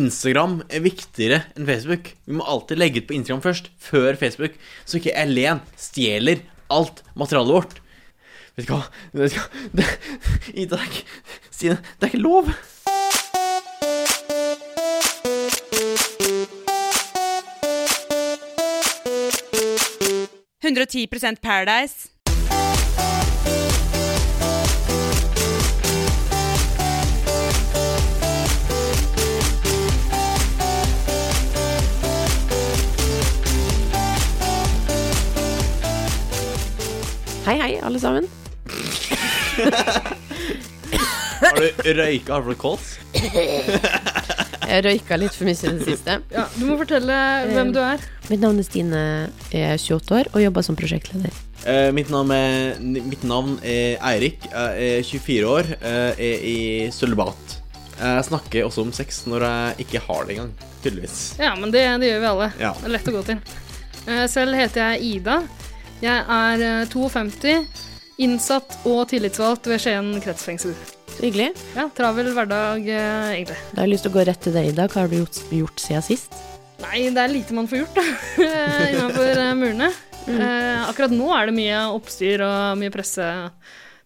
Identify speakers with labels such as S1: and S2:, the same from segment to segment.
S1: Instagram er viktigere enn Facebook. Vi må alltid legge ut på Instagram først, før Facebook, så ikke Elen stjeler alt materialet vårt. Vet du hva? Vet du hva? Det, Ida, det er ikke Stine, det er ikke lov!
S2: det. 110 Paradise.
S3: Hei, hei, alle sammen.
S1: Har du røyka? Har du blitt kåt?
S3: Jeg røyka litt for mye siden siste.
S4: Ja, du må fortelle hvem du er.
S3: Mitt navn er Stine, jeg er 28 år og jobber som prosjektleder.
S1: Eh, mitt, navn er, mitt navn er Eirik, jeg er 24 år, eh, er i sølibat. Jeg snakker også om sex når jeg ikke har det engang, tydeligvis.
S4: Ja, men det, det gjør vi alle.
S1: Ja.
S4: Det er lett å gå til. Eh, Selv heter jeg Ida. Jeg er eh, 52, innsatt og tillitsvalgt ved Skien kretsfengsel.
S3: Så hyggelig.
S4: Ja, travel hverdag, eh, egentlig.
S3: Da har jeg lyst til å gå rett til deg, Ida. Hva har du gjort, gjort siden sist?
S4: Nei, det er lite man får gjort, da, innafor murene.
S3: Mm.
S4: Eh, akkurat nå er det mye oppstyr og mye presse.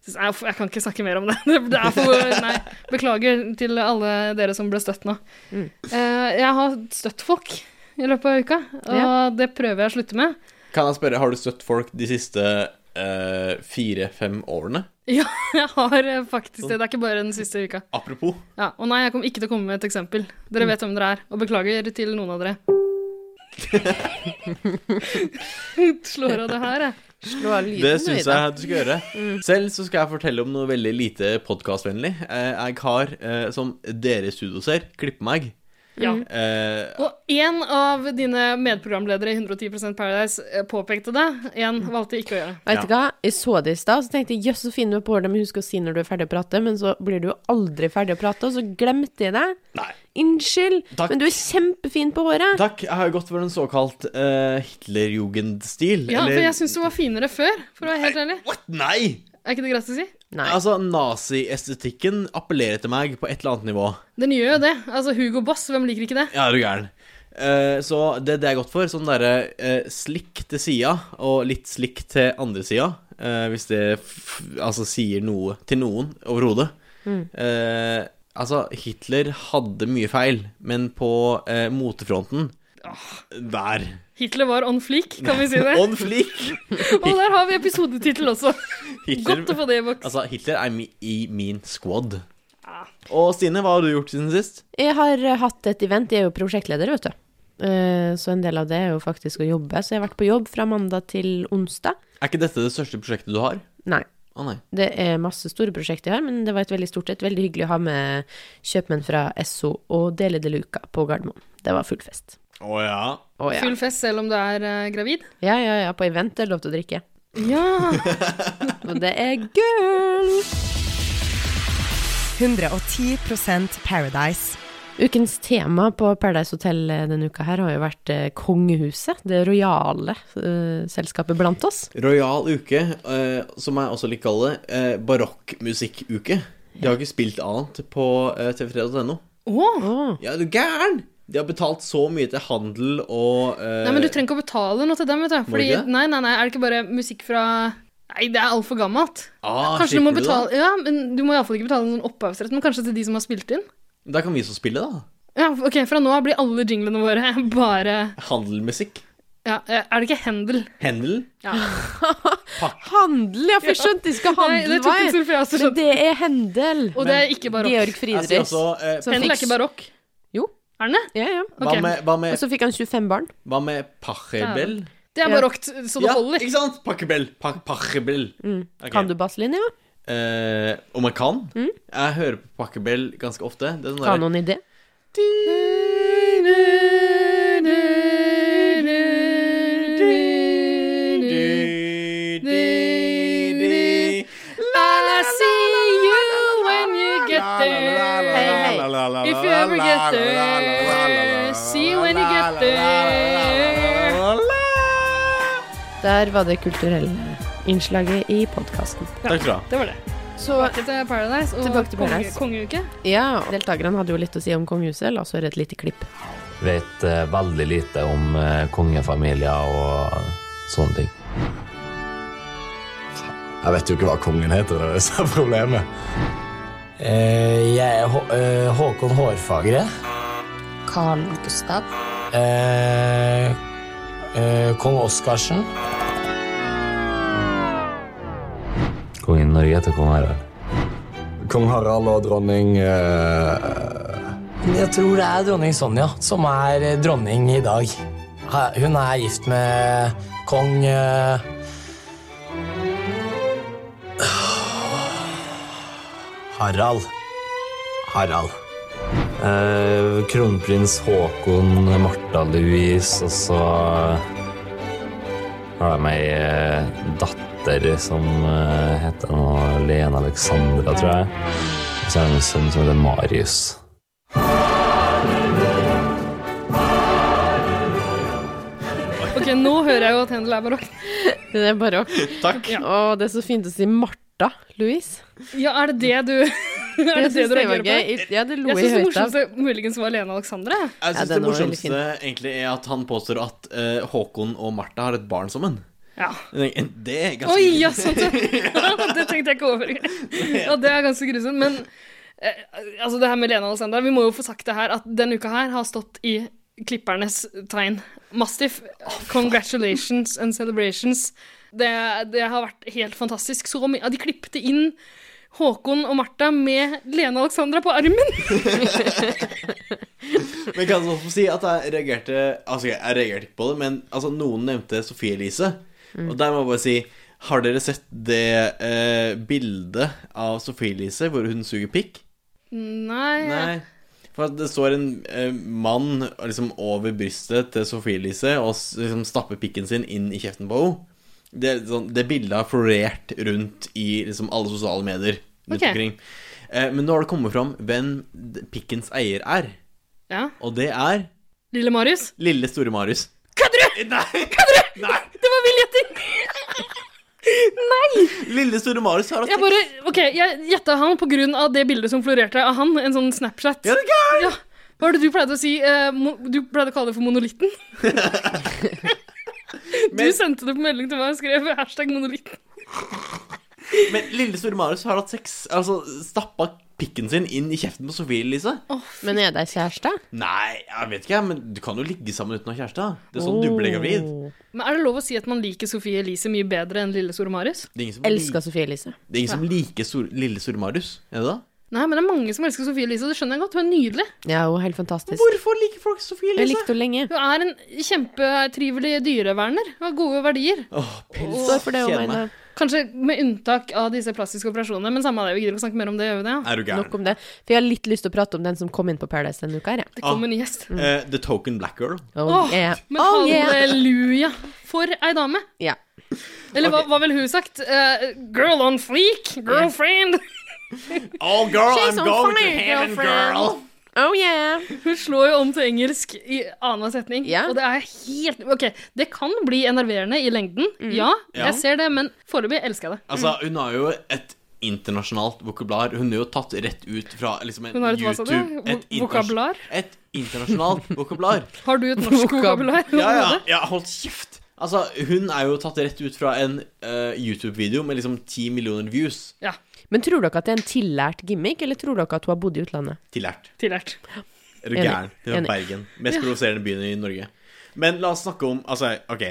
S4: Jeg, jeg kan ikke snakke mer om det. det er for, nei, beklager til alle dere som ble støtt nå.
S3: Mm.
S4: Eh, jeg har støtt folk i løpet av uka, og
S3: Ja.
S4: det prøver jeg å slutte med.
S1: Kan jeg spørre, har du støtt folk de siste eh, fire-fem årene?
S4: Ja, jeg har eh, faktisk det. Det er ikke bare den siste uka.
S1: Apropos.
S4: Ja, og nei, jeg kommer ikke til å komme med et eksempel.
S3: Mm.
S4: Dere vet hvem dere er, og beklager til noen av dere. Slår av det her, jeg.
S3: Slå av lyden,
S1: Det syns jeg du skal gjøre.
S4: Mm.
S1: Selv så skal jeg fortelle om noe veldig lite podkastvennlig. Jeg har, eh, som dere i studio ser, klippe meg.
S4: Ja.
S1: Eh,
S4: Og én av dine medprogramledere i 110 Paradise eh, påpekte det. Én valgte ikke å gjøre det.
S3: Vet du hva, jeg så det i stad, så tenkte jeg jøss, så fin du er på håret, men husk å si når du er ferdig å prate. Men så blir du jo aldri ferdig å prate, og så glemte jeg det.
S1: Nei.
S3: Unnskyld.
S1: Takk.
S3: Men du er kjempefin på håret.
S1: Takk. Jeg har gått for en såkalt eh, Hitlerjugend-stil.
S4: Ja,
S1: eller-
S4: for jeg syns det var finere før, for å være helt ærlig.
S1: What? Nei!
S4: Er ikke det greit å si?
S3: Nei.
S1: Altså, naziestetikken appellerer til meg på et eller annet nivå.
S4: Den gjør jo det. Altså, Hugo Boss, hvem liker ikke det?
S1: Ja, er du gæren. Eh, så det, det er godt for, sånn derre eh, slikk til sida, og litt slikk til andre sida. eh, hvis det f altså sier noe til noen overhodet. Eh, altså, Hitler hadde mye feil, men på eh, motefronten Der.
S4: Hitler var on fleak, kan vi si det?
S1: On fleek!
S4: Og der har vi episodetittel også.
S1: Hitler,
S4: Godt å få det i boks.
S1: altså, Hitler er mi i min squad.
S4: Ja.
S1: Og Stine, hva har du gjort siden sist?
S3: Jeg har eh, hatt et event, jeg er jo prosjektleder, vet du. Eh, Så en del av det er jo faktisk å jobbe. Så jeg har vært på jobb fra mandag til onsdag.
S1: Er ikke dette det største prosjektet du har?
S3: Nei,
S1: Å nei.
S3: det er masse store prosjekter jeg har, men det var et veldig stort et. Veldig hyggelig å ha med kjøpmenn fra Esso og Dele de Luca på Gardermoen. Det var full fest.
S1: Å ja.
S3: Å ja.
S4: Full fest selv om du er eh, gravid?
S3: Ja, ja, ja, på event er det lov til å drikke.
S4: Ja.
S3: Og det er gull!
S5: 110 Paradise.
S3: Ukens tema på Paradise Hotel eh, denne uka her har jo vært eh, kongehuset. Det rojale eh, selskapet blant oss.
S1: Royal uke, eh, som jeg også liker å kalle det, eh, barokkmusikkuke. De har ikke spilt annet på eh, tv3.no.
S4: Åh.
S3: Å,
S1: Ja, er du gæren! De har betalt så mye til handel og eh,
S4: Nei, men du trenger ikke å betale noe til dem, vet du. Fordi,
S1: ikke det?
S4: nei, nei, nei, er det ikke bare musikk fra Nei, det er altfor gammelt.
S1: ah,
S4: Kanskje du må
S1: slipper det,
S4: betale Ja, men du må iallfall ikke betale en sånn opphavsrett, men kanskje til de som har spilt inn?
S1: Da? da kan vi så spille, da.
S4: Ja, ok, fra nå av blir alle jinglene våre bare
S1: Handelmusikk.
S4: Ja, eh, er det ikke Hendel?
S1: Handel.
S4: Ja.
S3: Handel, ja, for jeg skjønte de skal
S4: Nei,
S3: handle,
S4: det tok en stund før jeg også
S3: Men
S4: skjønte.
S3: det er Hendel.
S4: Og det er ikke barokk.
S3: Georg
S1: Jeg sier
S3: Friedrichs.
S1: også eh,
S3: Så
S4: Hendel er
S3: fikk-
S4: ikke barokk.
S3: Jo.
S4: Er den det?
S3: Ja, ja.
S1: hva,
S4: Ok.
S1: med, hva,
S3: Og
S1: med,
S3: så fikk han 25 barn.
S1: hva med Pachelbel?
S4: Det er
S3: Ja.
S4: barokt, så det holder.
S1: ikke sant? Pachelbel. Pa Pachelbel. Ok.
S3: Mm. Kan du basslinja?
S1: Eh, om jeg kan?
S4: Mm.
S1: Jeg hører på Pachelbel ganske ofte. Det er sånn
S3: Har
S1: derre-
S3: du noen idé?
S4: I'll I see you when you get there. If you ever get there, see you when you get there.
S3: Der var det kulturelle innslaget i podkasten.
S1: Takk skal du ha.
S4: Det var det.
S3: Så
S4: Tilbake til Paradise og
S3: Tilbake til
S4: konge,
S3: Paradise.
S4: kongeuke.
S3: ja, deltakerne hadde jo litt å si om kongehuset. La oss høre et lite klipp.
S6: Vet eh, veldig lite om eh, kongefamilier og sånne ting.
S7: Jeg vet jo ikke hva kongen heter, det er det som er problemet.
S8: Eh, jeg er Håkon Hårfagre.
S9: Carl Gustav.
S8: Eh, Kong Oskarsen.
S6: Kongen i Norge heter kong Harald.
S7: Kong Harald og dronning eh,
S8: Jeg tror det er dronning Sonja som er eh, dronning i dag. Ha- Hun er gift med kong eh, Harald. Harald.
S6: Eh, kronprins Haakon, Martha Louise, og så har de ei eh, datter som eh, heter noe Lene Alexandra, tror jeg. Og så har de en sønn som heter Marius.
S4: Ok, nå hører jeg jo at Hendel er barokk.
S3: Det er barokk.
S1: Takk.
S4: Ja.
S3: Og det er så fint å si Martha Louise.
S4: Ja, er det det du Er det
S3: Jeg
S4: det
S3: synes
S4: du
S3: det var
S4: reagerer på?
S3: gøy. Ja, det lo
S4: Jeg
S3: jeg
S4: syns det
S3: høyt av.
S4: morsomste muligens var Lene Alexandra.
S1: Jeg
S3: Ja,
S1: syns det
S3: den var veldig
S1: morsomste egentlig er at han påstår at eh, Håkon og Martha har et barn sammen.
S4: Ja.
S1: Jeg tenker, Det er ganske
S4: Oi, ja, sånn sett. Det tenkte jeg ikke over. Ja, det er ganske grusomt. Men eh, altså, det her med Lena Alexandra Vi må jo få sagt det her at denne uka her har stått i klippernes tegn. Mastiff, congratulations and celebrations. Det, det har vært helt fantastisk. Så mye. Ja, de klippte inn Håkon og Martha med Lene Alexandra på armen.
S1: Men kan jeg også få si at jeg reagerte Altså, jeg jeg reagerte ikke på det, men altså, noen nevnte Sofie Elise. Og der må jeg bare si Har dere sett det eh, bildet av Sofie Elise hvor hun suger pikk?
S4: Nei,
S1: Nei. For at det står en eh, mann liksom over brystet til Sofie Elise og s- liksom stapper pikken sin inn i kjeften på henne. Det, er sånn, det bildet har florert rundt i liksom alle sosiale medier rundt
S4: Ok.
S1: omkring. Eh, men nå har det kommet fram hvem d- pikkens eier er,
S4: Ja.
S1: og det er
S4: Lille Marius.
S1: Lille Store Marius. Eh,
S4: Kødder du?! Kødder du?! Det var vill gjetting! Nei!
S1: Lille Store Marius har hatt
S4: Jeg bare, ok, jeg gjetta han på grunn av det bildet som florerte av han, en sånn Snapchat.
S1: Ja, det er gøy!
S4: Ja. Hva var det du pleide å si? eh, mo- du pleide å kalle det for monolitten. Du
S1: Men-
S4: sendte det på melding til meg og skrev hashtag monolitten.
S1: Men Lille Store Marius har hatt sex Altså stappa pikken sin inn i kjeften på Sofie Elise.
S3: Men er de kjærester?
S1: Nei, jeg vet ikke, men du kan jo ligge sammen uten å ha kjæreste. da. Det er sånn du blir gravid.
S3: Oh.
S4: Men er det lov å si at man liker Sofie Elise mye bedre enn Lille Store Marius?
S1: Det er ingen som
S3: Elsker Sofie Elise.
S1: Det er ingen som liker Sor lille Store-Marius, er det da?
S4: Nei, men det er mange som elsker Sofie Elise, og det skjønner jeg godt. Hun er nydelig.
S3: Ja, hun er helt fantastisk.
S1: Hvorfor liker folk Sofie
S3: Jeg likte henne lenge.
S4: Hun er en kjempetrivelig dyreverner. Hun har gode verdier.
S1: Åh, pils.
S3: Står for det om
S1: Kjeder meg.
S3: meg.
S4: Kanskje med unntak av disse plastiske operasjonene, men samme av det, vi gidder ikke å snakke mer om det, gjør vi det? Ja?
S1: Er du
S3: Nok
S1: gæren?
S3: om det. For jeg har litt lyst til å prate om den som kom inn på Paradise denne uka. her, jeg.
S4: Det kommer en ny gjest.
S3: Mm.
S1: Eh, the Token Black Girl.
S3: Oh,
S4: Åh,
S3: yeah.
S4: Men
S3: Oh, yeah.
S4: halleluja for ei dame!
S3: Ja.
S4: Eller hva, hva ville hun sagt? Eh, girl on fleek! Girlfriend!
S1: Oh, girl,
S3: She's I'm on going to fire, heaven, girl. Oh, yeah.
S4: Hun slår jo om til engelsk i annenhver setning.
S3: Ja.
S4: Og det er helt Ok, det kan bli enerverende i lengden.
S3: Mm.
S4: Ja,
S1: Ja.
S4: jeg ser det, men foreløpig elsker jeg det.
S1: Altså, hun har jo et internasjonalt vokabular. Hun er jo tatt rett ut fra liksom en
S4: Hun har et hva sa du?
S1: YouTube
S4: Vo-
S1: internas-
S4: Vokabular?
S1: Et internasjonalt vokabular.
S4: Har du et norsk
S3: Vokab-
S4: vokabular?
S1: Ja, ja, ja, hold kjeft! Altså, hun er jo tatt rett ut fra en eh, YouTube-video med liksom 10 millioner views.
S3: Men tror dere at det er en tillært gimmick, eller tror dere at hun har bodd i utlandet?
S1: Tillært.
S4: Tillært.
S1: Er du
S3: Enig.
S1: gæren? Det var
S3: Enig.
S1: Bergen. Mest provoserende byen i Norge. Men la oss snakke om Altså, OK.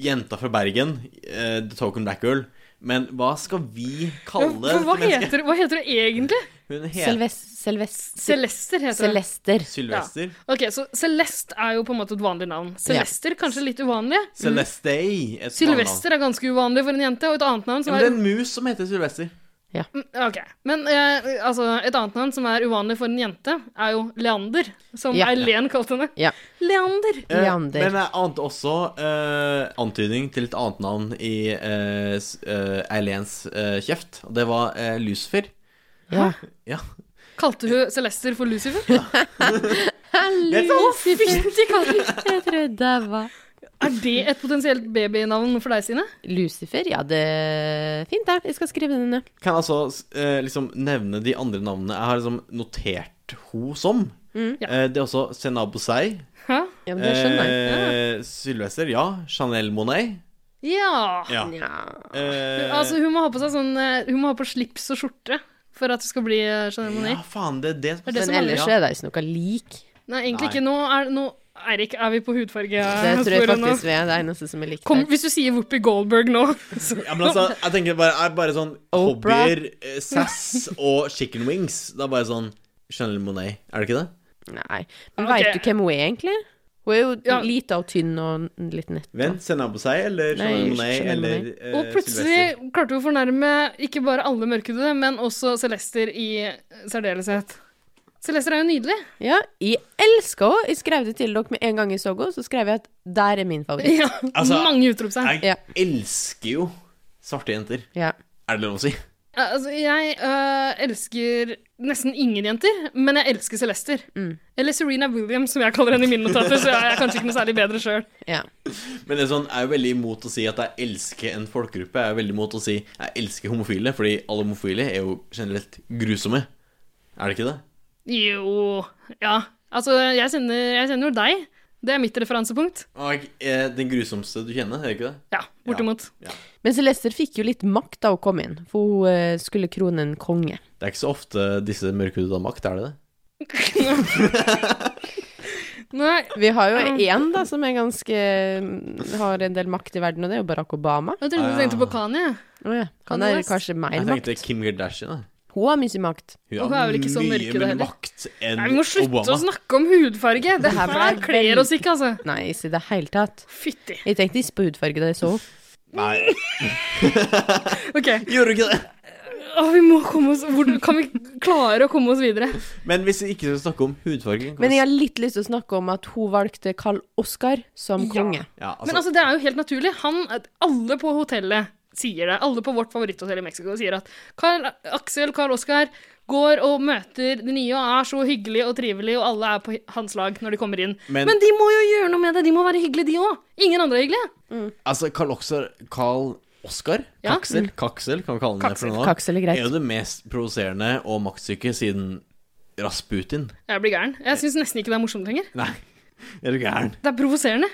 S1: Jenta fra Bergen, eh, The Token Black Girl. Men hva skal vi kalle
S4: For Hva
S1: dette mennesket?
S4: heter, hva heter det egentlig?
S1: Hun heter
S3: Selves... Selves...
S4: Celester heter det.
S3: Celester.
S1: Sylvester.
S4: Ok, Så Celeste er jo på en måte et vanlig navn. Celester, kanskje litt uvanlig.
S1: Celeste et
S4: Sylvester er ganske uvanlig for en jente, og et annet
S1: Ja,
S4: navn som
S1: men det er
S4: er
S1: en mus som heter Sylvester.
S4: Mm, Ok, men eh, altså, et annet navn som er uvanlig for en jente, er jo Leander, som
S3: Ja.
S4: Eileen kalte henne.
S3: Ja.
S4: Leander!
S1: Eh,
S3: Leander.
S1: Men jeg ante også eh, antydning til et annet navn i eh, s- eh, Eileens eh, kjeft. Og det var eh, Lucifer.
S3: Ja.
S1: Ja.
S4: Kalte hun Celester for Lucifer?
S1: Det er sant!
S4: Å, fytti katten!
S3: Jeg tror jeg daua.
S4: Er det et potensielt babynavn for deg, Sine?
S3: Lucifer, ja, det er fint, det. Jeg skal skrive den ned.
S1: Kan jeg altså eh, liksom nevne de andre navnene jeg har liksom notert ho som?
S4: Ja.
S1: Eh, det er også Senab Osei.
S4: Hæ?
S3: Ja, men det skjønner jeg.
S1: Eh, Sylvester, ja. Chanel Monet.
S4: Ja.
S1: Ja.
S3: Nja.
S1: Eh,
S4: Altså, hun må ha på seg sånn eh, Hun må ha på slips og skjorte for at det skal bli eh, Chanel Monet.
S1: ja, faen, det er det som
S4: Det er det
S3: Men
S4: som
S3: ellers
S1: ja.
S3: er det ikke noe lik.
S4: Nei, egentlig
S1: Nei.
S4: ikke. Nå er, nå, Eirik, er vi på hudfarge?
S3: Det tror jeg
S4: sporet nå?
S3: faktisk vi er det eneste som er likt.
S4: Kom,
S3: her.
S4: hvis du sier Whoopi Goldberg nå så,
S1: ja, men altså, jeg tenker bare, er bare sånn
S3: Oprah.
S1: Hobbyer, eh, sass og chicken wings. Det er bare sånn Chanel Monet, er det ikke det?
S3: Nei. Men
S4: Ok.
S3: veit du hvem hun er, egentlig? Hun er jo
S4: Ja.
S3: lita og tynn og litt nett.
S1: Vent, Senab Osei eller
S3: Nei,
S1: Chanel Monet
S3: Chanel
S1: eller
S3: Monáe.
S1: eh,
S4: Og plutselig
S1: Sylvester.
S4: klarte hun å fornærme ikke bare alle mørkhudede, men også Celester i særdeleshet. Celester er jo nydelig.
S3: Ja, jeg elsker henne. Jeg skrev det til dere med en gang jeg så henne, så skrev jeg at der er min favoritt.
S4: Ja,
S1: Altså,
S4: mange utropstegn.
S1: Jeg
S3: Ja.
S1: elsker jo svarte jenter.
S3: Ja.
S1: Er det lov å si?
S4: Ja, Altså, jeg øh, elsker nesten ingen jenter, men jeg elsker Celester. Eller Serena Williams, som jeg kaller henne i mine notater, så jeg er kanskje ikke noe særlig bedre sjøl.
S3: ja.
S1: Men det er sånn, jeg er veldig imot å si at jeg elsker en folkegruppe. Jeg er veldig imot å si jeg elsker homofile, fordi alle homofile er jo generelt grusomme. Er det ikke det?
S4: Jo Ja. Altså, jeg kjenner, jeg kjenner jo deg. Det er mitt referansepunkt.
S1: Og eh, den grusomste du kjenner, er det ikke det?
S4: Ja, bortimot.
S3: Men Celester fikk jo litt makt da hun kom inn, for hun eh, skulle krone en konge.
S1: Det er ikke så ofte disse mørkhudede har makt, er det det?
S4: Nei,
S3: Vi har jo én da som er ganske mm, har en del makt i verden, og det er jo Barack Obama.
S4: jeg
S1: Ah,
S4: trodde du tenkte på Kanye.
S3: Å ja. Han
S4: Han er
S3: har
S4: mest-
S3: kanskje mer
S1: Jeg
S3: makt.
S1: tenkte Kim Kardashian. da.
S3: Hun har mye makt.
S4: Og hun er vel ikke så mørk i det
S1: mye mer
S4: heller.
S1: makt enn
S4: Nei, vi må slutte
S1: Obama.
S4: å snakke om hudfarge. Det
S3: her
S4: her
S3: ble veldig-
S4: kler oss ikke, altså.
S3: Nei, ikke i det hele tatt.
S4: Fytti.
S3: Jeg tenkte ikke på hudfarge da jeg så henne.
S1: Nei,
S4: Ok,
S1: gjorde du ikke det?
S4: Å, vi må komme oss hvor, Kan vi klare å komme oss videre?
S1: Men hvis vi ikke skal snakke om hudfarge
S3: Men jeg har litt lyst til å snakke om at hun valgte Karl Oskar som
S4: Ja.
S3: konge.
S1: ja, altså,
S4: Men altså, det er jo helt naturlig. Han, alle på hotellet sier det. Alle på vårt favoritthotell i Mexico sier at Carl, Aksel Carl Oskar går og møter de nye og er så hyggelig og trivelig, og alle er på hans lag når de kommer inn.
S1: Men-
S4: Men, de må jo gjøre noe med det! De må være hyggelige, de òg! Ingen andre er hyggelige.
S1: altså Karl Oskar Karl Oskar?
S4: Ja. Mm.
S1: Kaksel? Kaksel, kan vi kalle han det
S4: Kaksel.
S1: for nå?
S3: Kaksel er greit.
S1: Er jo det mest provoserende og maktsyke siden Rasputin.
S4: Jeg blir gæren. Jeg syns nesten ikke det er morsomt lenger.
S1: Nei, er du gæren?
S4: Det er provoserende.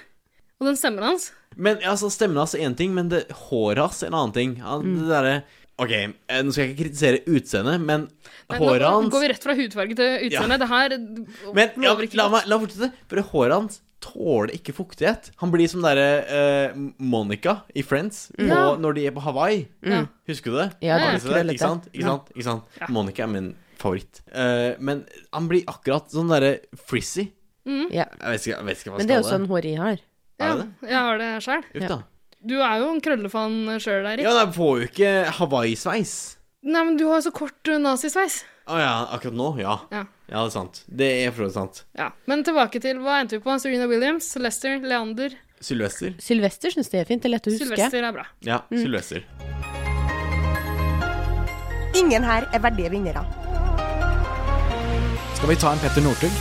S4: Og den stemmen hans.
S1: Men altså, stemmen hans er én ting, men det håret hans er en annen ting. Han,
S4: Mm.
S1: Det derre Ok, eh, nå skal jeg ikke kritisere utseendet, men
S4: Nei,
S1: håret
S4: nå
S1: hans
S4: går vi rett fra hudfarge til utseende. Det her d-
S1: Men ja,
S4: lover ikke
S1: la
S4: godt.
S1: meg la meg fortsette. For håret hans tåler ikke fuktighet. Han blir som derre eh, Monica i Friends på,
S4: Ja.
S1: når de er på Hawaii.
S4: Ja.
S1: Husker du det?
S3: Ja, det
S1: Var
S3: er
S1: ikke det?
S3: krøllete.
S1: Ikke sant? Ikke
S3: Ja.
S1: sant? Ikke sant? Monica er min favoritt. Eh, men han blir akkurat sånn derre frizzy.
S3: Ja.
S1: Jeg vet ikke, jeg vet ikke hva jeg
S3: Men det er
S1: skal
S3: jo sånn hår jeg har.
S1: Er
S4: Ja,
S1: det det?
S4: jeg har det sjøl.
S1: Uff, da.
S4: Du er jo en krøllefan sjøl, Eirik.
S1: Ja, jeg får jo ikke Hawaii-sveis.
S4: Nei, men du har jo så kort uh, nazisveis.
S1: Å ja, akkurat nå? Ja.
S4: Ja.
S1: det er sant. Det er for så vidt sant.
S4: Ja. Men tilbake til hva endte vi på? Serena Williams, Lester, Leander.
S1: Sylvester.
S3: Sylvester syns det er fint. Det er lett å huske.
S4: Sylvester er bra.
S1: Ja,
S5: Mm.
S1: Sylvester.
S5: Ingen her er verdige vinnere.
S10: Skal vi ta en Petter Northug?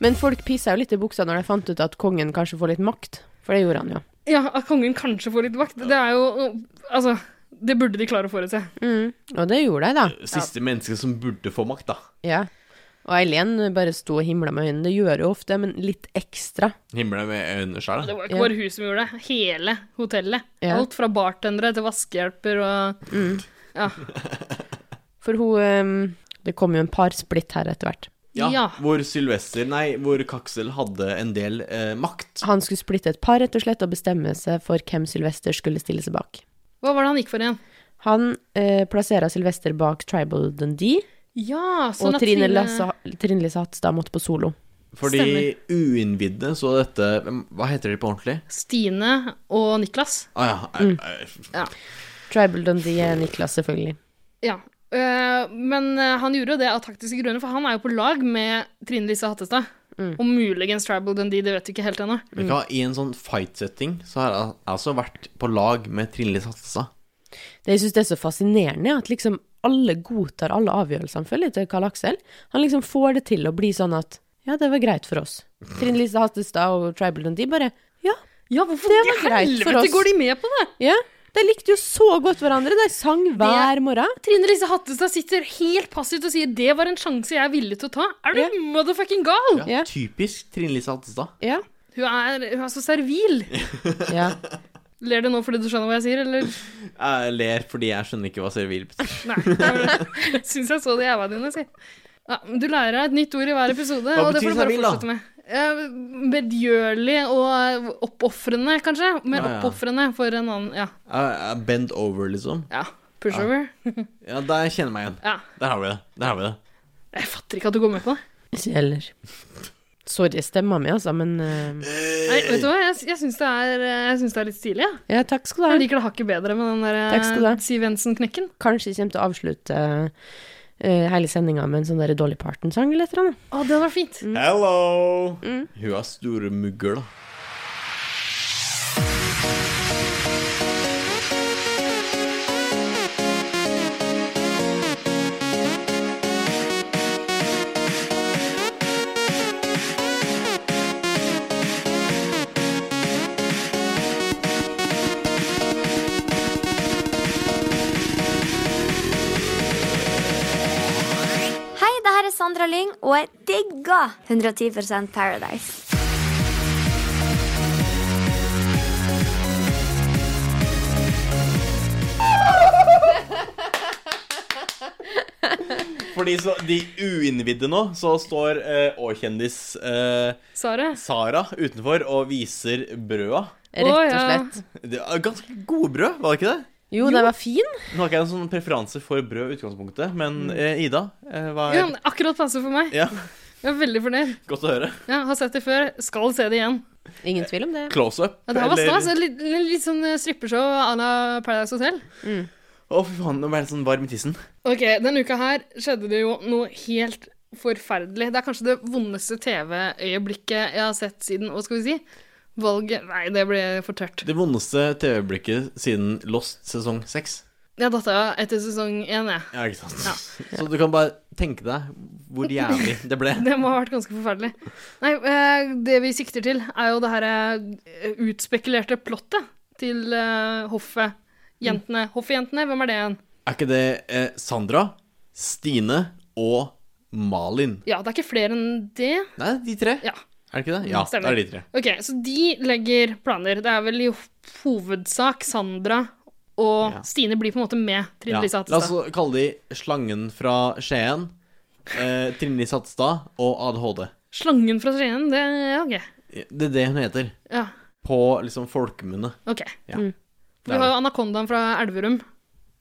S3: Men folk pissa jo litt i buksa når de fant ut at kongen kanskje får litt makt. For det gjorde han jo.
S4: Ja, at kongen kanskje får litt vakt. Det er jo Altså, det burde de klare å forutse.
S3: Og det gjorde de,
S4: Eh,
S3: da.
S1: Siste menneske som burde få makt, da.
S3: Ja. Og Eileen bare sto og himla med øynene. Det gjør hun ofte, men litt ekstra.
S1: Himmelen med øynene sjæl.
S4: Det var
S3: Ja.
S4: ikke bare hun som gjorde det. Hele hotellet.
S3: Ja.
S4: Alt fra bartendere til vaskehjelper og
S3: For hun ehm, Det kom jo en par splitt her etter hvert.
S1: Ja,
S4: Ja.
S1: Hvor Sylvester, nei, hvor Kaksel hadde en del eh, makt.
S3: Han skulle splitte et par, rett og slett, og bestemme seg for hvem Sylvester skulle stille seg bak.
S4: Hva var det han gikk for igjen?
S3: Han eh, plassera Sylvester bak Tribal Dundee,
S4: Ja, sånn
S3: og
S4: at
S3: Trine,
S4: Trine-
S3: Lasse, Trine Lise Hatstad måtte på solo.
S1: For de uinnvidde så dette hvem- Hva heter de på ordentlig?
S4: Stine og Niklas.
S1: Å ah, ja. jeg- jeg-
S3: Tribal Dundee er Niklas, selvfølgelig.
S4: Ja. Eh, men eh, han gjorde jo det av taktiske grunner, for han er jo på lag med Trine Lise Hattestad. Og muligens Tribal Dundee, det vet vi ikke helt ennå.
S1: Vet du hva, I en sånn fight-setting så har jeg altså vært på lag med Trinli Satsa.
S3: Det jeg syns det er så fascinerende, er at liksom alle godtar alle avgjørelsene, føler jeg, til Karl Aksel. Han liksom får det til å bli sånn at ja, det var greit for oss. Trine Lise Hattestad og Tribal Dundee bare ja,
S4: Ja, hvorfor
S3: Det
S4: i
S3: var greit for
S4: helvete
S3: oss.
S4: går de med på det?
S3: ja. De likte jo så godt hverandre, de sang hver morgen.
S4: Trine Lise Hattestad sitter helt passivt og sier 'det var en sjanse jeg er villig til å ta'. Er du
S3: Ja.
S4: motherfucking gal?!
S1: Ja,
S3: Ja.
S1: Typisk Trinli Satsa.
S3: Ja.
S4: Hun, er, hun er så servil.
S3: ja.
S4: Ler du nå fordi du skjønner hva jeg sier, eller?
S1: Jeg ler fordi jeg skjønner ikke hva servil betyr.
S4: Nei. Jeg syns jeg så det i øynene dine, si. Ja, men du lærer deg et nytt ord i hver episode,
S1: Hva
S4: og det
S1: betyr
S4: får du bare
S1: servil, da?
S4: fortsette med. Eh, Medgjørlig og oppofrende, kanskje. Mer
S1: Ja, ja.
S4: oppofrende for en annen Ja.
S1: Jeg jeg Bend over, liksom.
S4: ja. Pushover.
S1: Ja, Der kjenner jeg meg igjen.
S4: Ja.
S1: Der har vi det. Der har vi det.
S4: Jeg fatter ikke at du går med på det.
S3: Ikke heller. Sorry, stemma mi, altså, men eh,
S4: Nei, vet du hva, jeg, jeg syns det, er- eh, jeg syns det er litt stilig, jeg. Ja.
S3: Ja, takk skal du ha.
S4: Jeg liker det hakket bedre med den
S3: Takk skal du ha.
S4: der eh, Siv Jensen-knekken.
S3: Kanskje kommer til å avslutte eh, hele sendinga med en sånn der Dolly Parton-sang eller et eller annet.
S4: Å, det hadde vært fint.
S3: Mm.
S1: Hello! Mm. Hun er store mugger, da.
S10: Hei, det her er Sandra Lyng, og jeg digger 110 Paradise.
S1: For de, så- de uinnvidde nå, så står eh, Å-kjendis eh,
S4: Sara.
S1: Sara utenfor og viser brøda.
S3: Rett og
S4: Å, ja.
S3: slett.
S1: Det er ganske gode brød, var det ikke det?
S3: Jo, den var fin.
S1: Nå har ikke jeg en sånn preferanse for brød i utgangspunktet, men eh, Ida, eh, hva
S4: Ja,
S1: er
S4: akkurat passe for meg.
S1: Ja,
S4: Jeg er veldig fornøyd.
S1: godt å høre.
S4: Ja, har sett det før, skal se det igjen.
S3: Ingen tvil om det.
S1: Close up.
S4: Ja, det her var
S1: eller-
S4: stas. Litt, litt sånn eh, strippeshow à la Paradise Hotel.
S1: Å, fy faen, nå ble jeg litt sånn varm i tissen.
S4: Ok, denne uka her skjedde det jo noe helt forferdelig. Det er kanskje det vondeste TV-øyeblikket jeg har sett siden Hva skal vi si? Valget Nei, det ble for tørt.
S1: Det vondeste TV-blikket siden Lost sesong 6.
S4: Jeg datt av etter sesong én, jeg.
S1: Ja, ikke sant? Så du kan bare tenke deg hvor jævlig det ble.
S4: Det må ha vært ganske forferdelig. Nei, eh, det vi sikter til, er jo det her eh, utspekulerte plottet til eh, hoffet. Jentene.
S1: Mm.
S4: Hoffjentene, hvem er det igjen?
S1: Er ikke det eh, Sandra, Stine og Malin?
S4: Ja, det er ikke flere enn det.
S1: Nei, de tre.
S4: Ja.
S1: Er det ikke det? Ja, det
S4: Stemmer.
S1: er de tre.
S4: Ok, så de legger planer. Det er vel i hovedsak Sandra og
S1: Ja.
S4: Stine blir på en måte med Trine
S1: Ja. La
S4: Lise
S1: oss
S4: Hattestad.
S1: kalle de Slangen fra Skien, eh, Trine Lise Hatstad og ADHD.
S4: Slangen fra Skien, det ja, OK.
S1: Det er det hun heter.
S4: Ja,
S1: På liksom folkemunne.
S4: ok. Mm.
S1: Ja.
S4: Vi har jo Anakondaen fra Elverum.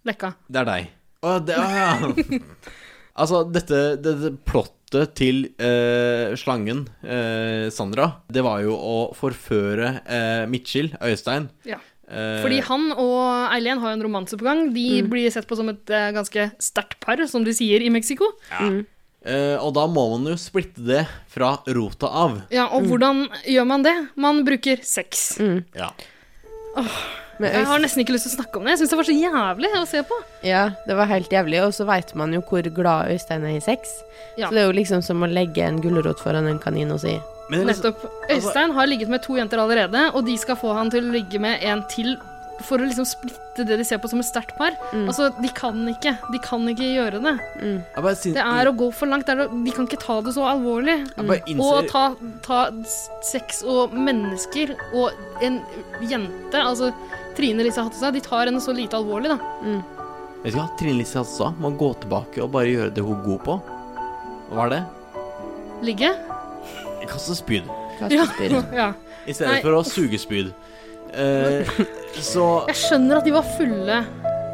S4: Lekka.
S1: Det er deg. Å, det å, ja. altså, dette, dette plottet til eh, slangen, eh, Sandra, det var jo å forføre eh, Mitchell, Øystein.
S4: Ja.
S1: Eh, Mm.
S4: Fordi han og Eileen har jo en romanse på gang. De blir sett på som et eh, ganske sterkt par, som de sier i Mexico.
S1: eh, og da må man jo splitte det fra rota av.
S4: Ja, Og hvordan gjør man det? Man bruker sex.
S1: Ja.
S3: Med
S4: Jeg
S3: Øystein-
S4: har nesten ikke lyst til å snakke om det. Jeg syns det var så jævlig å se på.
S3: Ja, det var helt jævlig, og så veit man jo hvor glad Øystein er i sex.
S4: Ja.
S3: Så det er jo liksom som å legge en gulrot foran en kanin og si
S1: Men det er liksom,
S4: Nettopp. Øystein har ligget med to jenter allerede, og de skal få han til å ligge med en til for å liksom splitte det de ser på som et sterkt par.
S1: Mm.
S4: Altså, de kan ikke. De kan ikke gjøre det.
S1: jeg bare, sin,
S4: Det er å gå for langt. Det er å, de kan ikke ta det så alvorlig.
S1: jeg bare
S4: Og
S1: innser
S4: ta, ta s- sex og mennesker og en jente, altså Trine Lise Hattestad, de tar henne så lite alvorlig, da.
S1: Vet du hva Trine Lise sa? Man gå tilbake og bare gjøre det hun er god på. Hva er det?
S4: Ligge.
S1: Kaste spyd.
S4: Ja.
S3: kastespyr.
S4: ja.
S1: I stedet
S4: Nei.
S1: for å suge spyd. Eh, så
S4: Jeg skjønner at de var fulle.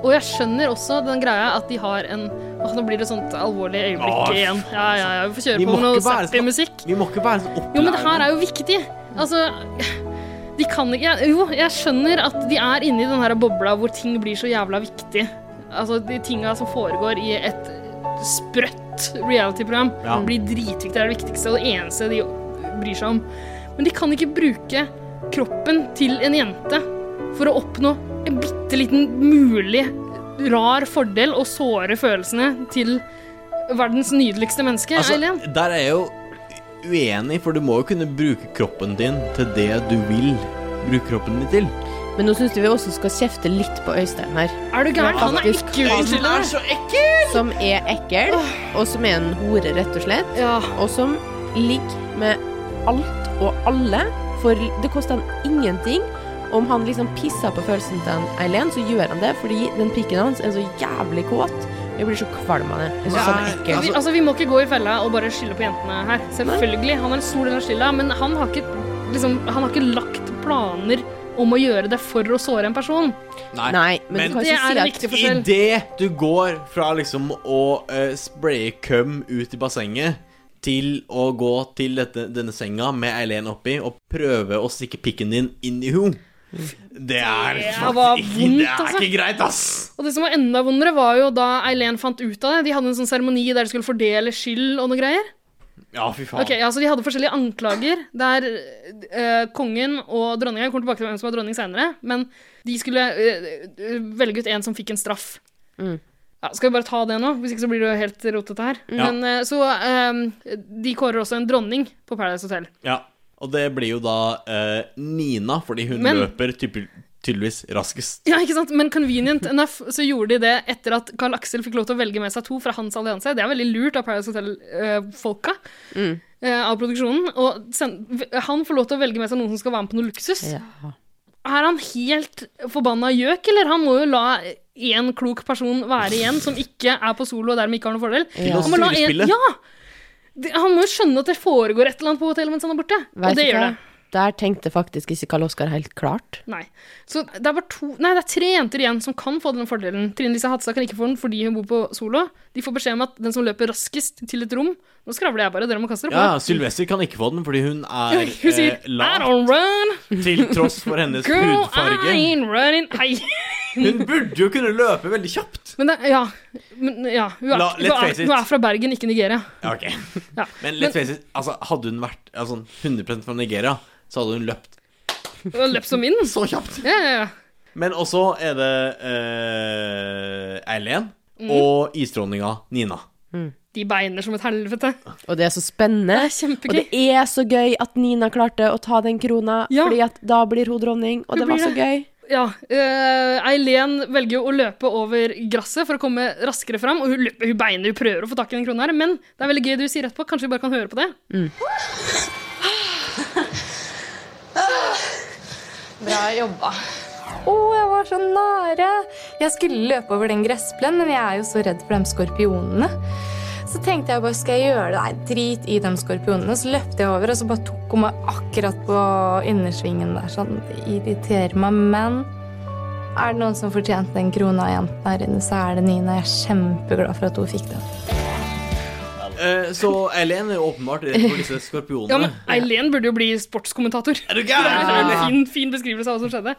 S4: Og jeg skjønner også den greia at de har en Åh, Nå blir det sånt alvorlig øyeblikk
S1: Åh,
S4: igjen. Ja, ja, ja, Vi får kjøre
S1: Vi må
S4: på med noe
S1: ikke være
S4: sappy
S1: sånn-
S4: musikk.
S1: Vi må ikke være sånn opplærende.
S4: Jo, men det her er jo viktig. Altså De kan ikke jeg- Jo, jeg skjønner at de er inne i den her bobla hvor ting blir så jævla viktig. Altså, de tinga som foregår i et sprøtt reality-program,
S1: Ja.
S4: blir dritviktig. Det er det viktigste og det eneste de bryr seg om. Men de kan ikke bruke kroppen til en jente for å oppnå en bitte liten mulig rar fordel og såre følelsene til verdens nydeligste menneske,
S1: Altså,
S4: Eileen.
S1: der er jeg jo uenig, for du må jo kunne bruke kroppen din til det du vil bruke kroppen din til.
S3: Men nå syns jeg vi også skal kjefte litt på Øystein her.
S4: Er du gæren? Han er ikke unnskyldig. Han er så ekkel!
S3: Som er ekkel, og som er en hore, rett og slett. Og som ligger med alt og alle, for det koster han ingenting. Om han liksom pisser på følelsen til han Eileen, så gjør han det, fordi den pikken hans er så jævlig kåt. Jeg blir så kvalm av det. Jeg synes han er ekkel.
S4: Vi, altså, vi må ikke gå i fella og bare skylde på jentene her. Selvfølgelig. Han har en stor del av skylda, men han har, ikke, liksom, han har ikke lagt planer om å gjøre det for å såre en person.
S1: Nei,
S4: men du kan ikke Det er si en at- viktig forskjell.
S1: Idet du går fra liksom å eh, spraye køm ut i bassenget til å gå til dette, denne senga med Eileen oppi og prøve å stikke pikken din inn i henne Det er
S4: Det
S1: faktisk
S4: var
S1: ikke,
S4: vondt,
S1: det er
S4: altså.
S1: ikke greit, ass!
S4: Og det som var enda vondere, var jo da Eileen fant ut av det. De hadde en sånn seremoni der de skulle fordele skyld og noe greier.
S1: Ja, fy faen.
S4: Ok, ja, så De hadde forskjellige anklager, der eh, kongen og dronninga Jeg kommer tilbake til hvem som var dronning senere, men de skulle eh, eh, velge ut en som fikk en straff.
S3: Mm.
S4: Ja, skal vi bare ta det nå? Hvis ikke så blir det jo helt rotete her.
S1: Ja.
S4: Men eh, så eh, De kårer også en dronning på Paradise Hotel.
S1: Ja. Og det blir jo da eh, Nina, fordi hun
S4: Men-
S1: løper type, tydeligvis raskest.
S4: Ja, ikke sant? Men convenient enough så gjorde de det etter at Carl Axel fikk lov til å velge med seg to fra hans allianse. Det er veldig lurt av Paradise Hotel-folka. eh, av produksjonen. Og send, v- han får lov til å velge med seg noen som skal være med på noe luksus. Er han helt forbanna gjøk, eller? Han må jo la én klok person være igjen, som ikke er på solo og dermed ikke har noen fordel.
S3: Til å
S4: Han må la en-
S3: styrespille.
S4: Ja! Det- Han må jo skjønne at det foregår et eller annet på hotellet mens han er borte.
S3: Vet
S4: og det
S3: du
S4: gjør
S3: hva?
S4: det.
S3: Der tenkte faktisk ikke Karl Oskar helt klart.
S4: Nei. Så det er bare to Nei, det er tre jenter igjen som kan få den fordelen. Trine Lise Hadstad kan ikke få den fordi hun bor på solo. De får beskjed om at den som løper raskest til et rom Nå skravler jeg bare, dere må kaste dere på.
S1: Ja, Sylvester kan ikke få den fordi hun er
S4: Hun sier
S1: eh,
S4: I
S1: lav,
S4: don't run,
S1: til tross for hennes
S4: girl, I
S1: hudfarge.
S4: ain't running Hei.
S1: Hun burde jo kunne løpe veldig kjapt.
S4: Men det, ja. Men, ja. Hun, er,
S1: La-
S4: hun,
S1: let's
S4: er,
S1: face it.
S4: hun er fra Bergen, ikke Nigeria.
S1: Ja, ok.
S4: Ja.
S1: Men let's face it, altså, hadde hun vært altså, 100 fra Nigeria, så hadde hun løpt.
S4: Og løp som vinden.
S1: Så kjapt.
S4: Ja, ja, ja.
S1: Men også er det eh, Eileen
S4: Mm.
S1: og isdronninga Nina.
S4: De beiner som et helvete.
S3: Og det er så spennende. og det er så gøy at Nina klarte å ta den krona,
S4: Ja.
S3: fordi at da blir hun dronning, og
S4: Hun
S3: det var
S4: blir
S3: så
S4: det.
S3: gøy.
S4: Ja. eh, Eileen velger jo å løpe over gresset for å komme raskere fram. Og hun, løper, hun beiner, hun prøver å få tak i den krona her, men det er veldig gøy det hun sier etterpå. Kanskje vi bare kan høre på det?
S11: Bra jobba. Å, jeg var så nære! Jeg skulle løpe over den gressplenen, men jeg er jo så redd for de skorpionene. Så tenkte jeg bare, skal jeg gjøre det? Nei, drit i de skorpionene. Så løpte jeg over, og så bare tok hun meg akkurat på innersvingen der. Sånn, det irriterer meg, men er det noen som fortjente den krona av jenten her inne, så er det Nina. Jeg er kjempeglad for at hun fikk den.
S1: Eh, så Eileen er jo åpenbart redd for disse skorpionene.
S4: Ja, men Eileen burde jo bli sportskommentator.
S1: Er du
S4: Det
S1: gæren?
S4: er en fin, fin beskrivelse av hva som skjedde.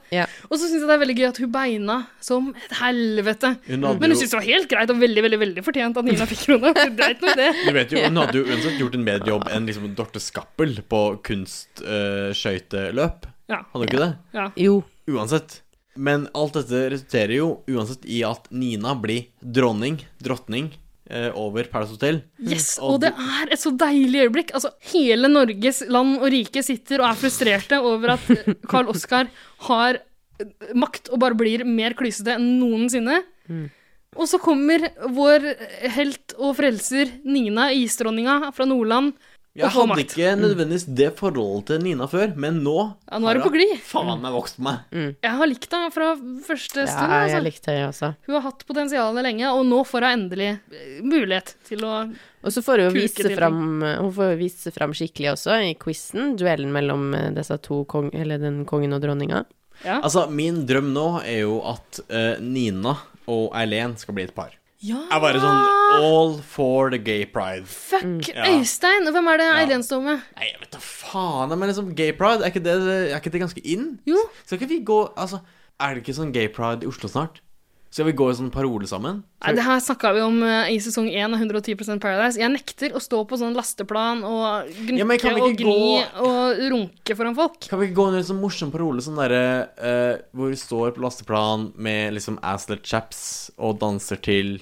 S4: Og så syns jeg det er veldig gøy at hun beina som et helvete.
S1: Hun hadde
S4: Men
S1: jo-
S4: hun syns det var helt greit og veldig veldig, veldig fortjent at Nina fikk krona. Det er ikke noe i det.
S1: Du vet jo, Hun hadde jo uansett gjort en bedre jobb enn liksom Dorte Skappel på kunstskøyteløp.
S4: Ja.
S1: Hadde hun ikke det?
S4: Ja.
S3: Jo.
S1: Uansett. Men alt dette resulterer jo uansett i at Nina blir dronning, drottning, eh, over Palace Hotel.
S4: Yes, og det er et så deilig øyeblikk. Altså, hele Norges land og rike sitter og er frustrerte over at eh, Karl Oskar har eh, makt og bare blir mer klysete enn noensinne. Og så kommer vår helt og frelser Nina, isdronninga fra Nordland, og
S1: Jeg
S4: får
S1: hadde
S4: makt. Mm.
S1: ikke nødvendigvis det forholdet til Nina før, men nå
S4: Ja, nå er hun på glid. Mm.
S1: faen meg vokst på meg.
S4: Jeg har likt henne fra første stund.
S3: Ja, jeg
S4: altså.
S3: likte det, altså.
S4: Hun har hatt potensialet lenge, og nå får hun endelig eh, mulighet til å
S3: Og så får hun jo
S4: Kuke
S3: vise
S4: til
S3: fram, hun får jo vise seg fram skikkelig også i quizen, duellen mellom eh, disse to kong, eller den kongen og dronninga.
S4: Mm.
S1: Altså, min drøm nå er jo at eh, Nina og Eileen skal bli et par.
S4: Ja!
S1: Jeg er bare sånn all for the gay pride.
S4: Fuck
S1: Ja.
S4: Øystein! Og hvem er det Eileen står med?
S1: Nei, jeg vet da faen. Men liksom gay pride, er ikke det, er ikke det ganske in?
S4: Jo.
S1: Skal ikke vi gå Altså, er det ikke sånn gay pride i Oslo snart? Skal vi gå i sånn parole sammen?
S4: Nei, det her snakka vi om eh, i sesong 1 av 110 Paradise. Jeg nekter å stå på sånn lasteplan og
S1: Ja, men
S4: gnukke
S1: kan vi
S4: og
S1: ikke
S4: gni
S1: gå-
S4: og runke foran folk.
S1: Kan vi ikke gå under en sånn morsom parole sånn derre eh, hvor du står på lasteplan med liksom Aslet Chaps og danser til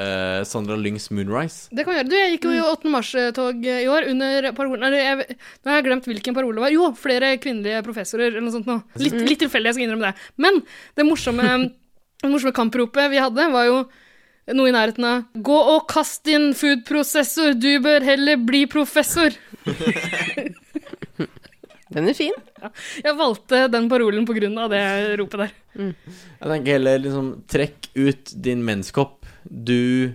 S1: eh, Sandra Lyngs Moonrise?
S4: Det kan vi gjøre. Du, jeg gikk jo
S1: Mm.
S4: i 8. mars-tog eh, i år under parolen Eller jeg, nå har jeg glemt hvilken parole det var. Jo, flere kvinnelige professorer eller noe sånt nå.
S1: Altså-
S4: Litt,
S2: Mm.
S4: litt tilfeldig, jeg skal innrømme det. Men det morsomme, det morsomme kampropet vi hadde, var jo noe i nærheten av Gå og kast din foodprosessor, du bør heller bli professor.
S3: Den er fin.
S4: Jeg valgte den parolen på grunn av det ropet der.
S1: Jeg tenker heller liksom Trekk ut din menskopp. Du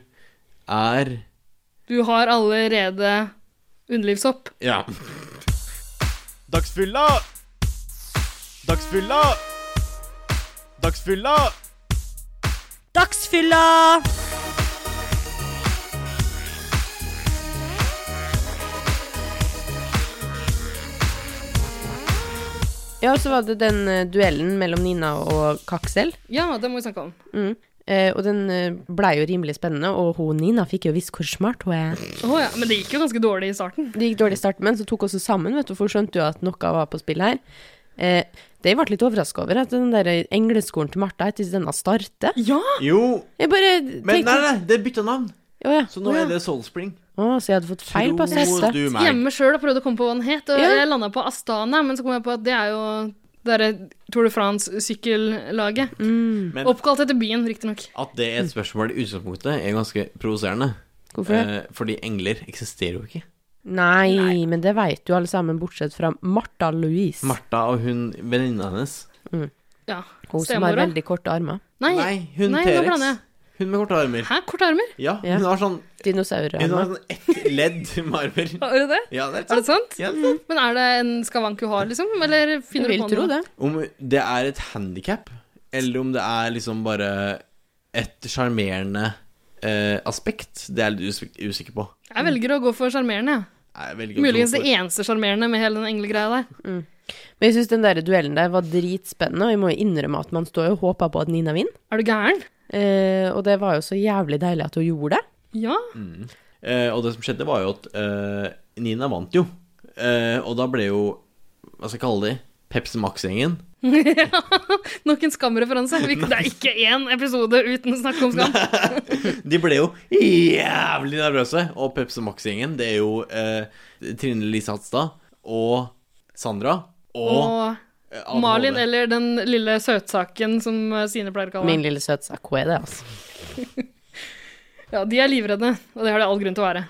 S1: er
S4: Du har allerede underlivshopp.
S1: Ja.
S12: Dagsfylla! Dagsfylla! Dagsfylla!
S2: Dagsfylla!
S3: Ja, og så var det den eh, duellen mellom Nina og Kaksel.
S4: Ja, det må vi snakke om.
S3: Mm. Eh, og den eh, blei jo rimelig spennende, og hun Nina fikk jo visst hvor smart hun er.
S4: Å ja, men det gikk jo ganske dårlig i starten.
S3: Det gikk dårlig i starten, men så tok også sammen, vet du, for hun skjønte jo at noe var på spill her. Eh, det jeg ble litt overraska over, at den der engleskolen til Martha heter denne Starte.
S4: Ja!
S1: Jo,
S3: Jeg bare
S1: men nei, nei, nei, det bytta navn.
S3: Å, ja.
S1: Så nå
S3: Å, ja.
S1: er det Soulspring.
S3: Å, så jeg hadde fått feil på
S1: Tror
S3: Starte.
S1: du meg?
S4: hjemme sjøl og prøvde å komme på hva den het. Og
S3: Ja.
S4: jeg landa på Astana, men så kom jeg på at det er jo det derre Tour de France-sykkellaget.
S1: Men-
S4: Oppkalt etter byen, riktignok.
S1: At det er et spørsmål i utgangspunktet, er ganske provoserende.
S3: Hvorfor?
S1: Eh, fordi engler eksisterer jo ikke.
S3: Nei, men det veit jo alle sammen, bortsett fra Martha Louise.
S1: Martha og hun venninna hennes
S3: Mm.
S4: Ja.
S3: Hun som har
S4: Stemora.
S3: veldig korte armer.
S4: Nei,
S1: hun
S4: nei, nå
S1: T-rex.
S4: blander jeg.
S1: Hun med korte armer.
S4: Hæ, korte armer?
S1: Ja, hun har sånn Hun har
S3: Dinosaurarmer.
S1: sånn ett ledd med armer.
S4: Har du det?
S1: Ja, det
S4: Er det sant?
S1: Ja,
S4: Men er det en skavank du har, liksom? Eller finner
S3: Jeg
S4: du
S3: vil
S4: på
S3: tro
S4: noe?
S3: det.
S1: Om det er et handikap, eller om det er liksom bare et sjarmerende eh, aspekt, det er jeg litt usik- usikker på.
S4: Jeg velger å gå for sjarmerende. jeg.
S1: Nei, Jeg velger å tro
S4: Muligens det
S1: på-
S4: eneste sjarmerende med hele den englegreia der.
S3: Men jeg syns den der duellen der var dritspennende, og jeg må jo innrømme at man står jo og håper på at Nina vinner.
S4: Er du gæren?
S3: Eh, og det var jo så jævlig deilig at hun gjorde det.
S4: Ja.
S1: Mm. Eh, og det som skjedde, var jo at eh, Nina vant jo. Eh, og da ble jo Hva skal jeg kalle de? Pepsi Max-gjengen.
S4: Ja. Nok en skamreferanse. Vi- Det er ikke én episode uten å snakke om skam.
S1: De ble jo jævlig nervøse. Og Pepsi Max-gjengen, det er jo eh, Trine Lise Hatstad og Sandra og,
S4: Og
S1: eh, Adam
S4: Malin,
S1: Holde.
S4: eller den lille søtsaken som eh, Sine pleier å kalle
S3: Min
S4: henne.
S3: lille søtsak, hun er det, altså.
S4: Ja, de er livredde, og det har de all grunn til å være.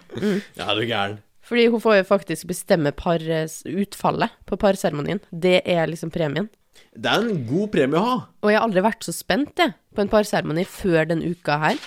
S1: Ja, du er gæren.
S3: Fordi hun får jo faktisk bestemme pars utfallet på parseremonien. Det er liksom premien.
S1: Det er en god premie å ha.
S3: Og jeg har aldri vært så spent jeg, på en parseremoni før den uka her.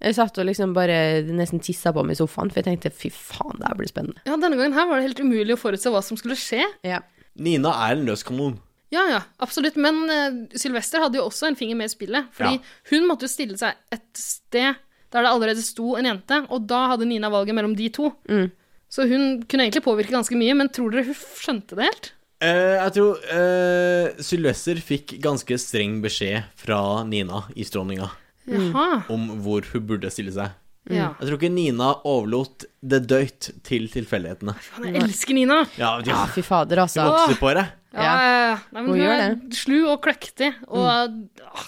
S3: Jeg satt og liksom bare nesten tissa på meg i sofaen, for jeg tenkte fy faen, det her blir spennende.
S4: Ja, denne gangen her var det helt umulig å forutse hva som skulle skje.
S3: Ja.
S1: Nina er en løs kanon.
S4: Ja, ja, absolutt. Men eh, Sylvester hadde jo også en finger med i spillet. Fordi
S1: Ja.
S4: hun måtte jo stille seg et sted der det allerede sto en jente, og da hadde Nina valget mellom de to.
S3: Mm.
S4: Så hun kunne egentlig påvirke ganske mye, men tror dere hun skjønte det helt?
S1: Eh, jeg tror eh, Sylvester fikk ganske streng beskjed fra Nina, isdronninga,
S3: Mm.
S4: Jaha.
S1: om hvor hun burde stille seg.
S4: Ja.
S1: Jeg tror ikke Nina overlot det døyt til tilfeldighetene.
S4: Faen, jeg elsker Nina!
S1: Ja, de
S4: Ah.
S3: Ja, fy fader,
S1: de
S3: altså.
S1: vokser på det.
S4: Ja, ja, ja. Nei, men
S3: Hun
S4: hun,
S3: gjør
S4: er slu og kløktig, og åh,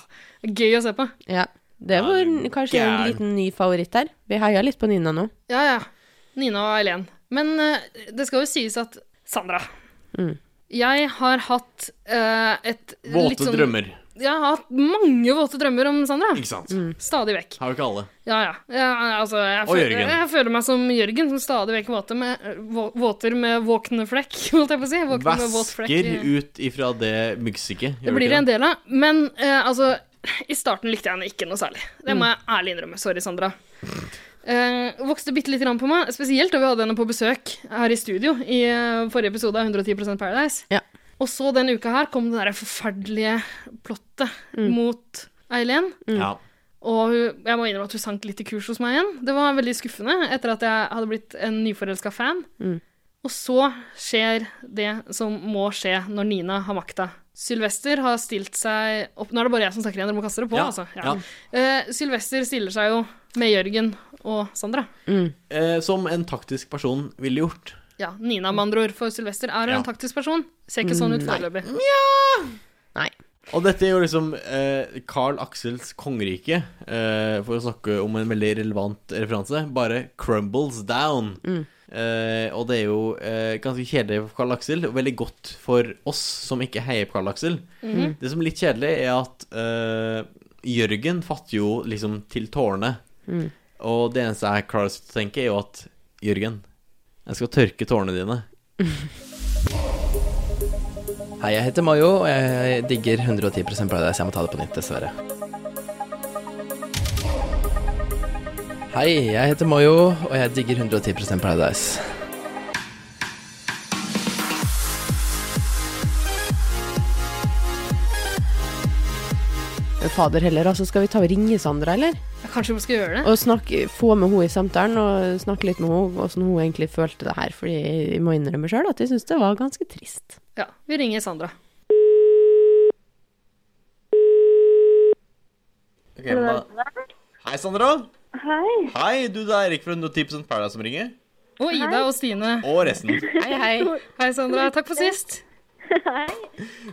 S4: gøy å se på.
S3: Ja. Det var kanskje en
S1: gæren.
S3: liten ny favoritt her. Vi heia litt på Nina nå.
S4: Ja, ja. Nina og Eileen. Men eh, det skal jo sies at Sandra
S3: Mm.
S4: Jeg har hatt eh, et litt
S1: Våte
S4: sånn-
S1: drømmer, Mm.
S4: Jeg har hatt mange våte drømmer om Sandra.
S1: ikke sant?
S4: Stadig vekk.
S1: Har jo ikke alle.
S4: Ja, ja. Jeg, altså, jeg,
S1: Og
S4: føler,
S1: Jørgen.
S4: jeg føler meg som Jørgen, som stadig vekk våter med, eh, vå- våter med våkne flekk, holdt jeg på å si. Våkne med våt flekk.
S1: Vasker ut ifra det myggsykket.
S4: Det blir en del av. Men eh, altså, i starten likte jeg henne ikke noe særlig. Det må jeg ærlig innrømme. Sorry, Sandra. Eh, vokste bitte litt på meg, spesielt da vi hadde henne på besøk her i studio i eh, forrige episode av 110 Paradise.
S3: Ja.
S4: Og så denne uka her kom det der forferdelige plottet mot Eileen.
S1: Ja.
S4: Og hun, jeg må innrømme at hun sank litt i kurs hos meg igjen. Det var veldig skuffende etter at jeg hadde blitt en nyforelska fan. Og så skjer det som må skje når Nina har makta. Sylvester har stilt seg opp Nå er det bare jeg som snakker igjen, dere må kaste dere på.
S1: Ja,
S4: Altså.
S1: ja.
S4: Eh, Sylvester stiller seg jo med Jørgen og Sandra.
S1: Eh, som en taktisk person ville gjort.
S4: Ja, Nina, med andre ord, for Sylvester er
S1: Ja.
S4: en taktisk person. Ser ikke sånn ut
S1: Mm, nei.
S4: foreløpig.
S1: Og dette er jo liksom eh, Carl Axels kongerike, eh, for å snakke om en veldig relevant referanse, bare crumbles down.
S13: Mm.
S1: Eh, og det er jo eh, ganske kjedelig for Carl Axel, og veldig godt for oss som ikke heier på Carl Axel.
S13: Mhm.
S1: Det som er litt kjedelig, er at eh, Jørgen fatter jo liksom til tårene.
S13: Mm.
S1: Og det eneste jeg klarer å tenke, er jo at Jørgen, jeg skal tørke tårene dine.
S14: Hei, jeg heter Mayo, og jeg digger 110 Paradise. Jeg må ta det på nytt, dessverre. Hei, jeg heter Mayo, og jeg digger 110 Paradise.
S13: Men Fader heller, altså. Skal vi ta og ringe Sandra, eller?
S4: Kanskje hun skal gjøre det?
S13: Og snakke, få med henne i samtalen, og snakke litt med henne åssen hun egentlig følte det her. Fordi jeg må innrømme sjøl at jeg syns det var ganske trist.
S4: Ja, vi ringer Sandra.
S1: Ok, men da- Hei, Sandra.
S10: Hei.
S1: Hei, du, det er Erik fra 110 Paradise som ringer.
S4: Og Ida og Stine.
S1: Og resten.
S4: Hei, hei. Hei, Sandra. Takk for sist.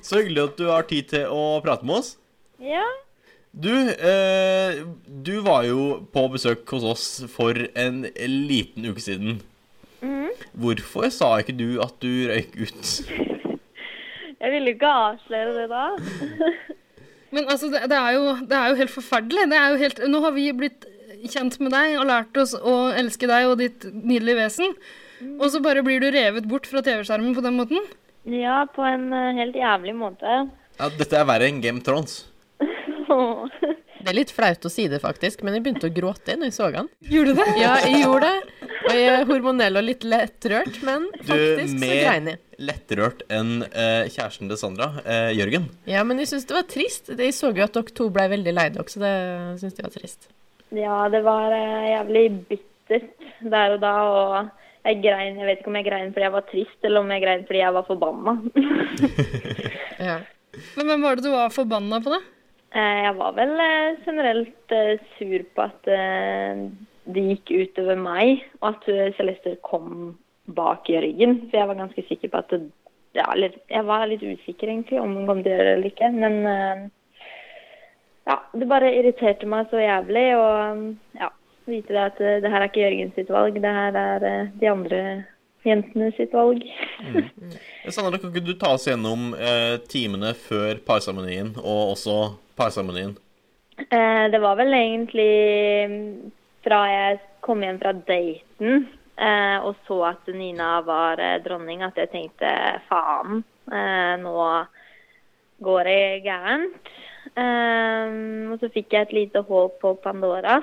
S1: Så hyggelig at du har tid til å prate med oss.
S10: Ja.
S1: Du, eh, du var jo på besøk hos oss for en liten uke siden.
S10: Mhm.
S3: Mm-hmm.
S1: Hvorfor sa ikke du at du røyk ut?
S10: Jeg ville jo ikke avsløre det da.
S4: Men altså, det, det, er jo, det er jo helt forferdelig. Det er jo helt, nå har vi blitt kjent med deg og lært oss å elske deg og ditt nydelige vesen. Og så bare blir du revet bort fra TV-skjermen på den måten.
S10: Ja, på en eh, helt jævlig måte.
S1: Ja, dette er verre enn Game of Thrones.
S3: Det er litt flaut å si det, faktisk, men jeg begynte å gråte når jeg så han.
S4: Gjorde du det?
S3: Ja, jeg gjorde det. Og jeg er hormonell og litt lettrørt, men
S1: Du,
S3: faktisk så grein jeg.
S1: mer lettrørt enn eh, kjæresten til Sandra, eh, Jørgen.
S3: Ja, men jeg syns det var trist. Jeg så jo at dere to ble veldig lei dere, så det syns jeg var trist.
S10: Ja, det var eh, jævlig bittert der og da, og jeg grein, jeg vet ikke om jeg grein fordi jeg var trist, eller om jeg grein fordi jeg var forbanna.
S4: Men hvem var det du var forbanna på, da?
S10: Eh, Jeg var vel eh, generelt eh, sur på at eh, det gikk utover meg, og at eh, Celeste kom bak Jørgen, for jeg var ganske sikker på at det, ja, eller, jeg var litt usikker egentlig om hun kom til å gjøre det eller ikke, men eh, ja, det bare irriterte meg så jævlig, og ja, vite det at eh, det her er ikke Jørgen sitt valg, det her er eh, de andre jentene sitt valg.
S1: Sandra, kan ikke du ta oss gjennom eh, timene før parseremonien, og også parseremonien?
S10: Eh, det var vel egentlig mm, fra jeg kom hjem fra daten eh, og så at Nina var eh, dronning, at jeg tenkte faen, eh, nå går det gærent. Eh, og så fikk jeg et lite håp på Pandora.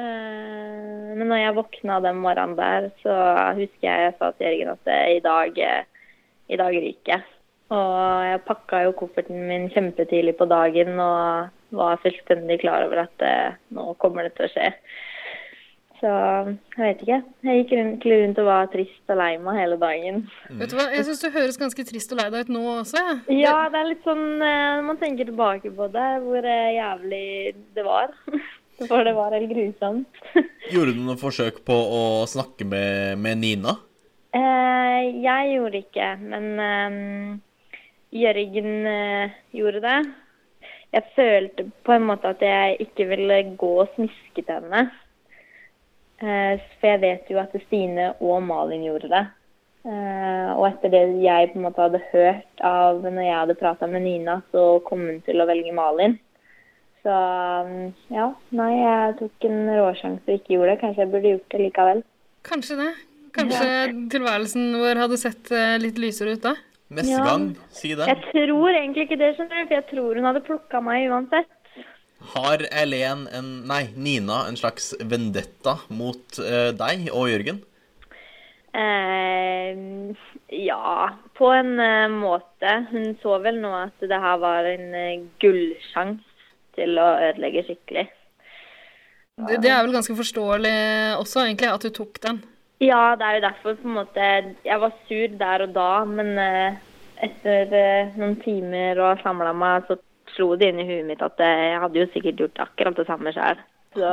S10: Eh, men når jeg våkna den morgenen der, så husker jeg jeg sa til Jørgen at eh, i dag, eh, i dag ryker jeg. Og jeg pakka jo kofferten min kjempetidlig på dagen og var fullstendig klar over at eh, nå kommer det til å skje. Så jeg vet ikke. Jeg gikk rundt, rundt og var trist og lei meg hele dagen.
S4: Vet du hva, Jeg syns du høres ganske trist og lei deg ut nå også. jeg.
S10: Ja, det er litt sånn eh, når man tenker tilbake på det, hvor eh, jævlig det var. For det var helt grusomt.
S1: Gjorde du noen forsøk på å snakke med, med Nina?
S10: Eh, jeg gjorde ikke, men eh, Jørgen eh, gjorde det. Jeg følte på en måte at jeg ikke ville gå og smiske til henne. Eh, for jeg vet jo at Stine og Malin gjorde det. Eh, og etter det jeg på en måte hadde hørt av når jeg hadde prata med Nina, så kom hun til å velge Malin. Så mm, ja, nei, jeg tok en råsjanse og ikke gjorde det. Kanskje jeg burde gjort det likevel.
S4: Kanskje det. Kanskje tilværelsen vår hadde sett eh, litt lysere ut da.
S1: Neste
S10: Ja.
S1: gang, si det.
S10: Jeg tror egentlig ikke det, skjønner du, for jeg tror hun hadde plukka meg uansett.
S1: Har Elen en Nei, Nina en slags vendetta mot eh, deg og Jørgen?
S10: Eh, ja, på en eh, måte. Hun så vel nå at det her var en
S11: eh,
S10: uh, gullsjanse til å ødelegge skikkelig.
S4: Det, det er vel ganske forståelig også, egentlig, at du tok den.
S11: Ja, det er jo derfor på en måte Jeg var sur der og da, men eh, etter eh, noen timer og samla meg, så slo det inn i huet mitt at eh, jeg hadde jo sikkert gjort akkurat det samme sjøl. Så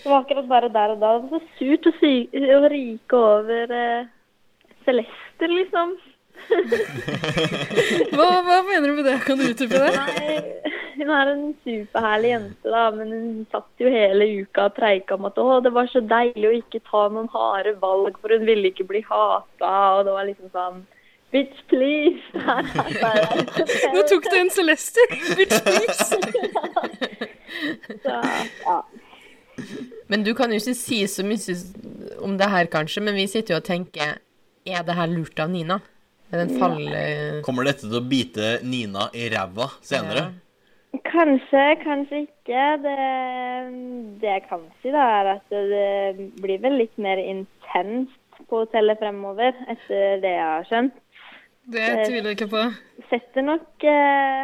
S11: det var akkurat bare der og da. Det var så surt å, sy å ryke over eh, Celeste, liksom.
S4: Hva, hva mener du med det? Kan du utdype det?
S11: Nei, hun er en superherlig jente, da, men hun satt jo hele uka og preika om at å, det var så deilig å ikke ta noen harde valg, for hun ville ikke bli hata, og det var liksom sånn Bitch, please! Her, her, her, her.
S4: Nå tok du en Celeste. Bitch, please.
S11: ja.
S3: Men du kan jo ikke si så mye om det her, kanskje, men vi sitter jo og tenker Er det her lurt av Nina? Med den fall... eh,
S1: Kommer dette til å bite Nina i ræva senere?
S11: Kanskje, kanskje ikke. Det, det jeg kan si, da, er at det blir vel litt mer intenst på hotellet fremover, etter det jeg har skjønt.
S4: Det tviler jeg ikke på.
S11: Setter nok eh,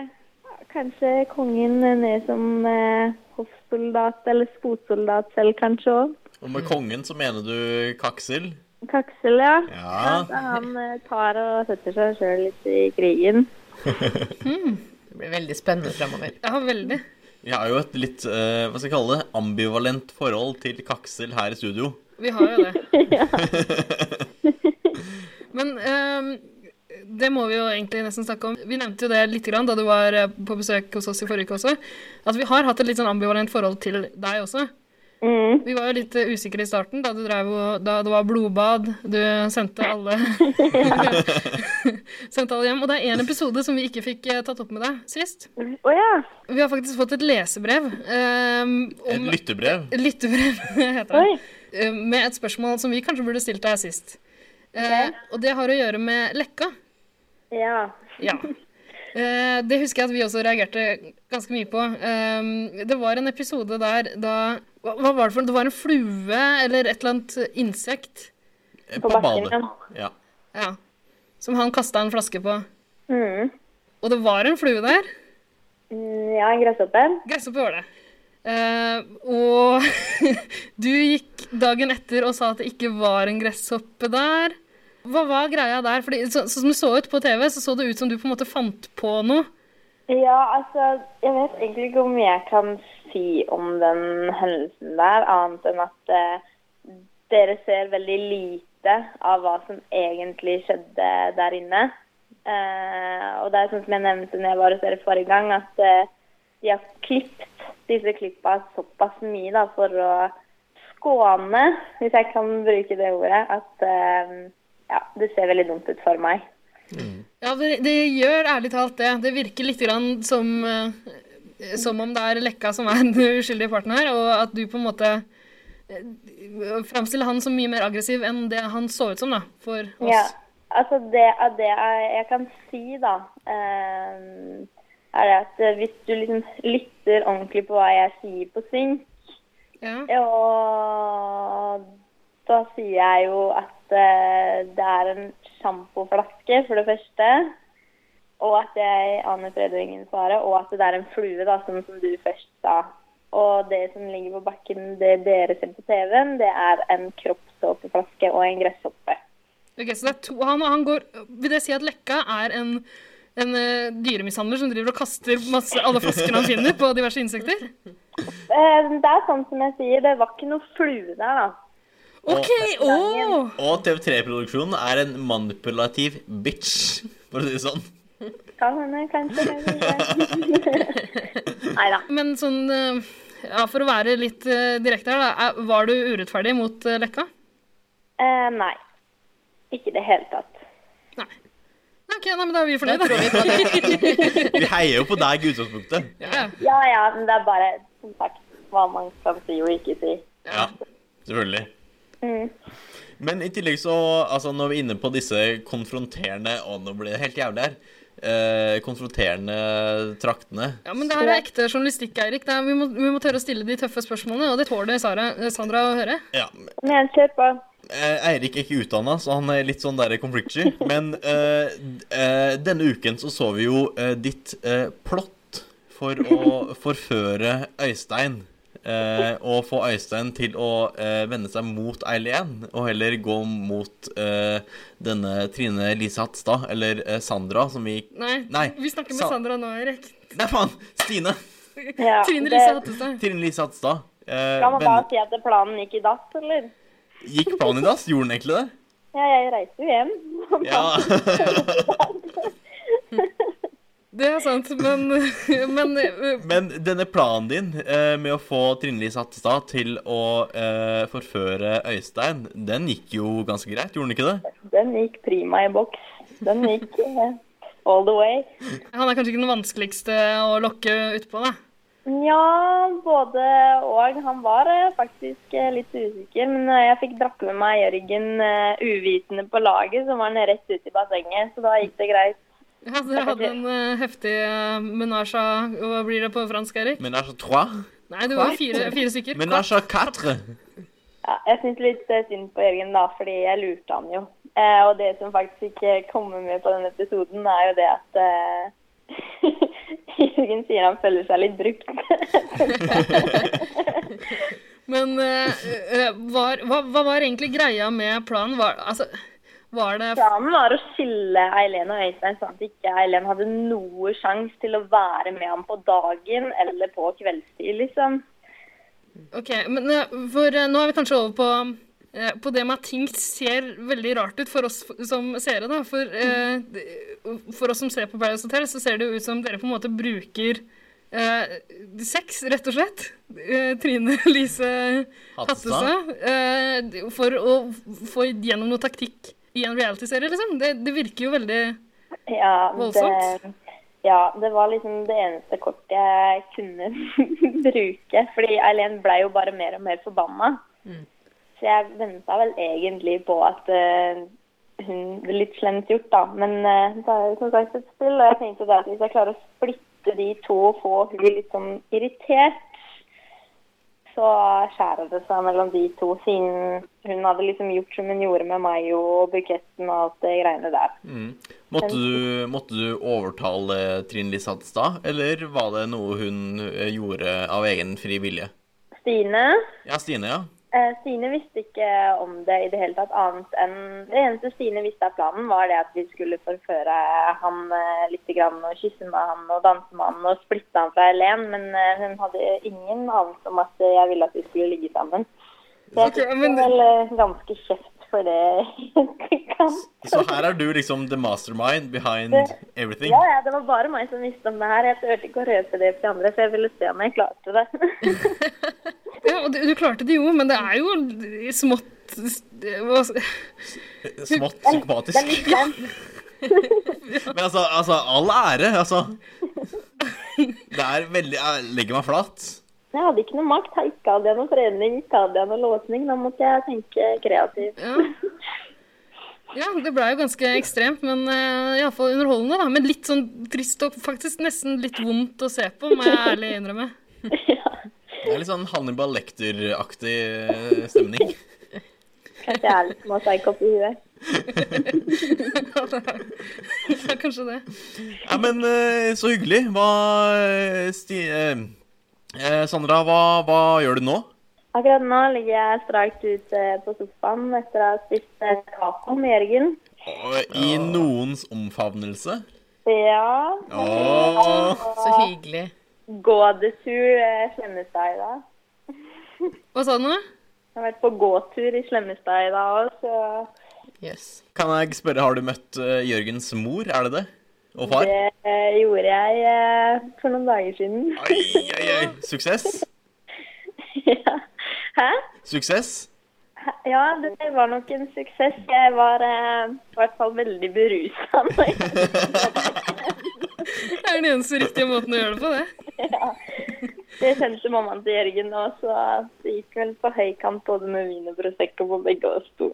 S11: kanskje kongen ned som eh, hoffsoldat eller fotsoldat selv, kanskje òg.
S1: Og med kongen så mener du Kaksel?
S11: Kaksel, ja.
S1: Ja.
S11: At han eh, tar og setter seg sjøl litt i krigen.
S3: Det blir veldig spennende fremover.
S4: Ja, veldig.
S1: Vi har jo et litt eh, hva skal jeg kalle det, ambivalent forhold til Kaksel her i studio.
S4: Vi har jo det. Men ehm, det må vi jo egentlig nesten snakke om. Vi nevnte jo det litt grann da du var eh, på besøk hos oss i forrige uke også, at vi har hatt et litt sånn ambivalent forhold til deg også. Vi var jo litt eh, usikre i starten da, du drev, og- da det var blodbad. Du sendte alle, sendte alle hjem. Og det er én episode som vi ikke fikk eh, tatt opp med deg sist. Vi har faktisk fått et lesebrev. ehm,
S1: Et
S4: om-
S1: lyttebrev.
S4: Lyttebrev heter det. Eh, Med et spørsmål som vi kanskje burde stilt deg sist. Eh, og det har å gjøre med lekka.
S11: Ja.
S4: Ja. Eh, det husker jeg at vi også reagerte ganske mye på. Eh, det var en episode der da hva, hva var det for Det var en flue eller et eller annet insekt
S1: Eh, På badet. Ja.
S4: ja, som han kasta en flaske på.
S11: Mm.
S4: Og det var en flue der.
S11: Mm, Ja, en gresshoppe.
S4: Gresshoppe var det. Eh, og du gikk dagen etter og sa at det ikke var en gresshoppe der. Hva var greia der? Fordi, så, så som det så ut på TV, så så det ut som du på en måte fant på noe.
S11: Ja, altså, jeg vet egentlig ikke om jeg kan si om den hendelsen der, annet enn at eh, dere ser veldig lite av hva som egentlig skjedde der inne. Eh, og det er sånn som jeg nevnte når jeg var hos dere forrige gang, at eh, de har klippt disse klippa såpass mye da, for å skåne, hvis jeg kan bruke det ordet, at eh, ja, det ser veldig dumt ut for meg.
S4: Ja, det, det gjør ærlig talt det. Det virker litt grann som, eh, som om det er Lekka som er den uskyldige parten her, og at du på en måte eh, framstiller han som mye mer aggressiv enn det han så ut som, da, for oss.
S11: Ja, altså det, er det jeg jeg kan si da, eh, er det at eh, hvis du liksom lytter ordentlig på hva jeg sier på synk, og da sier jeg jo at eh, det er en sjampoflaske for det første, og at jeg aner fred og ingen fare, og at det er en flue da, sånn som du først sa. Og det som ligger på bakken, det dere ser på TV-en, det er en kroppsåpeflaske og en gresshoppe.
S4: Ok, så det er to, han, han går, Vil det si at Lekka er en, en eh, dyremishandler som driver og kaster masse, alle flaskene han finner på diverse insekter?
S11: Eh, Det er sånn som jeg sier, det var ikke noe flue der, da.
S1: Ok,
S4: åh!
S1: Og TV3-produksjonen er en manipulativ bitch, for å si det sånn.
S11: Kan hende, kanskje. kanskje. Nei da.
S4: Men sånn eh, ja, For å være litt eh, direkte her, da. er- Var du urettferdig mot eh, Lekka?
S11: Eh, nei. Ikke i det hele tatt.
S4: Nei, Ok, nei, men da er vi fornøyd, da.
S1: Vi heier jo på deg i utgangspunktet.
S11: Ja ja, men det er bare som sagt hva man kan si og ikke si.
S1: Ja, selvfølgelig.
S11: Mm.
S1: Men i tillegg så, altså når vi er inne på disse konfronterende Å, nå blir det helt jævlig her. Eh, konfronterende traktene.
S4: Ja, men det her er ekte journalistikk, Eirik. Det er, vi, må, vi må tørre å stille de tøffe spørsmålene, og det tåler Sara, eh, Sandra å høre.
S1: Ja.
S11: Men kjør på.
S1: Eh, Eirik er ikke utdanna, så han er litt sånn der conflictsky. Men eh, d- eh, denne uken så så vi jo eh, ditt eh, plott for å forføre Øystein. eh, og få Øystein til å eh, vende seg mot Eileen, og heller gå mot eh, denne Trine Lise Hatstad, eller eh, Sandra, som vi
S4: Nei, vi snakker med
S1: Sa-
S4: Sandra nå, Erik.
S1: Nei, faen! Stine!
S14: Ja,
S4: Trine
S14: det-
S4: Lise Hattestad.
S1: Trine Lise Hatstad. Eh,
S14: Skal man da
S1: vende-
S14: si at planen gikk i dass, eller?
S1: Gikk planen i dass? Gjorde den egentlig det?
S14: Ja, jeg reiste jo hjem.
S4: Det er sant, men, men eh,
S1: Men denne planen din eh, med å få Trine Lise Hattestad til å eh, forføre Øystein, den gikk jo ganske greit, gjorde den ikke det?
S14: Den gikk prima i boks. Den gikk eh, all the way.
S4: han er kanskje ikke den vanskeligste å lokke utpå, da.
S14: Ja, både og. Han var eh, faktisk eh, litt usikker, men eh, jeg fikk dratt med meg Jørgen eh, uvitende på laget, så var han rett ut i bassenget, så da gikk det greit.
S4: Ja, dere hadde en eh, heftig uh, menasje av- Hva blir det på fransk, Erik?
S1: Men det er så trois.
S4: Nei, det var jo fire, fire stykker.
S1: Men det er så quatre.
S14: Ja, jeg syns litt eh, synd på Jørgen, da, fordi jeg lurte han jo. Eh, og det som faktisk ikke kommer med på denne episoden, er jo det at eh, Jørgen sier han føler seg litt brukt.
S4: Men eh, eh, var, hva, hva var egentlig greia med planen? Var, altså, var det
S14: Planen var å skille Eileen og Øystein, sånn at ikke Eileen hadde noe sjanse til å være med ham på dagen eller på kveldstid, liksom.
S4: OK, men eh, for eh, nå er vi kanskje over på eh, på det med at ting ser veldig rart ut for oss f- som seere. da, For, eh, d- for oss som ser på Paradise Hotel, så ser det jo ut som dere på en måte bruker eh, sex, rett og slett. Eh, Trine Lise Hattestad. eh, for å få gjennom noe taktikk i en realityserie, liksom. Det, det virker jo veldig
S14: Ja,
S4: Voldsomt.
S14: Det, ja, det var liksom det eneste kortet jeg kunne bruke. Fordi Eileen ble jo bare mer og mer forbanna. Så jeg venta vel egentlig på at eh, hun Litt slemt gjort, da. Men eh, det er jo som sagt et spill, og jeg tenkte da at hvis jeg klarer å splitte de to og få hun litt sånn irritert, så skjærer det seg mellom de to, siden hun hadde liksom gjort som hun gjorde med Mayo og buketten og alt det greiene der.
S1: Mm. Måtte, du, måtte du overtale Trine Lise Hattestad, eller var det noe hun eh, gjorde av egen fri vilje?
S14: Stine?
S1: Ja, Stine, ja.
S14: Eh, Stine visste ikke om det i det hele tatt, annet enn Det eneste Stine visste av planen, var det at vi skulle forføre han eh, litt grann, og kysse med han og danse med han og splitte han fra Helen, men eh, hun hadde ingen anelse om at jeg ville at vi skulle ligge sammen. Så jeg fikk vel eh, ganske kjeft for det.
S1: Så her er du liksom the mastermind behind everything.
S14: ja, ja, det var bare meg som visste om det her. Jeg turte ikke å røpe det til andre, så jeg ville se om jeg klarte det.
S4: Ja, og du, du klarte det jo, men det er jo smått s- hva s-
S1: Smått psykopatisk. Men altså, altså all ære, altså. Det er veldig Jeg legger meg flat.
S14: Jeg hadde ikke noe makt. Ikke hadde jeg noe trening, ikke hadde jeg noe låsning. Da måtte jeg tenke kreativt.
S4: Ja, det ble jo ganske ekstremt, men uh, iallfall underholdende, da. Men litt sånn trist og faktisk nesten litt vondt å se på, må jeg ærlig innrømme.
S1: Det er litt sånn Hannibal Lecter-aktig eh, stemning.
S14: Kanskje jeg er litt små psykopp i huet.
S4: Ja, kanskje det.
S1: Ja, men eh, så hyggelig. Hva eh, sti, eh, eh, Sandra, hva, hva gjør du nå?
S14: Akkurat nå ligger jeg strakt ut eh, på sofaen etter å ha spist eh, taco med Jørgen.
S1: I noens omfavnelse?
S14: Ja.
S1: Åh.
S14: Så hyggelig. Gådetur eh, Slemmestad i dag.
S4: Hva sa du nå?
S14: Jeg har vært på gåtur i Slemmestad i dag òg, så
S1: Kan jeg spørre, har du møtt eh, Jørgens mor? Er det det? Og far?
S14: det eh, gjorde jeg eh, for noen dager siden.
S1: Oi, oi. Suksess?
S14: Hæ?
S1: Suksess?
S14: Ja, det var nok en suksess. Jeg var eh, i hvert fall veldig berusa.
S4: Det er den eneste riktige måten å gjøre det på, det.
S14: Det kjente mammaen til Jørgen nå, så det gikk vel på høykant både med vin og prosecco på begge oss to.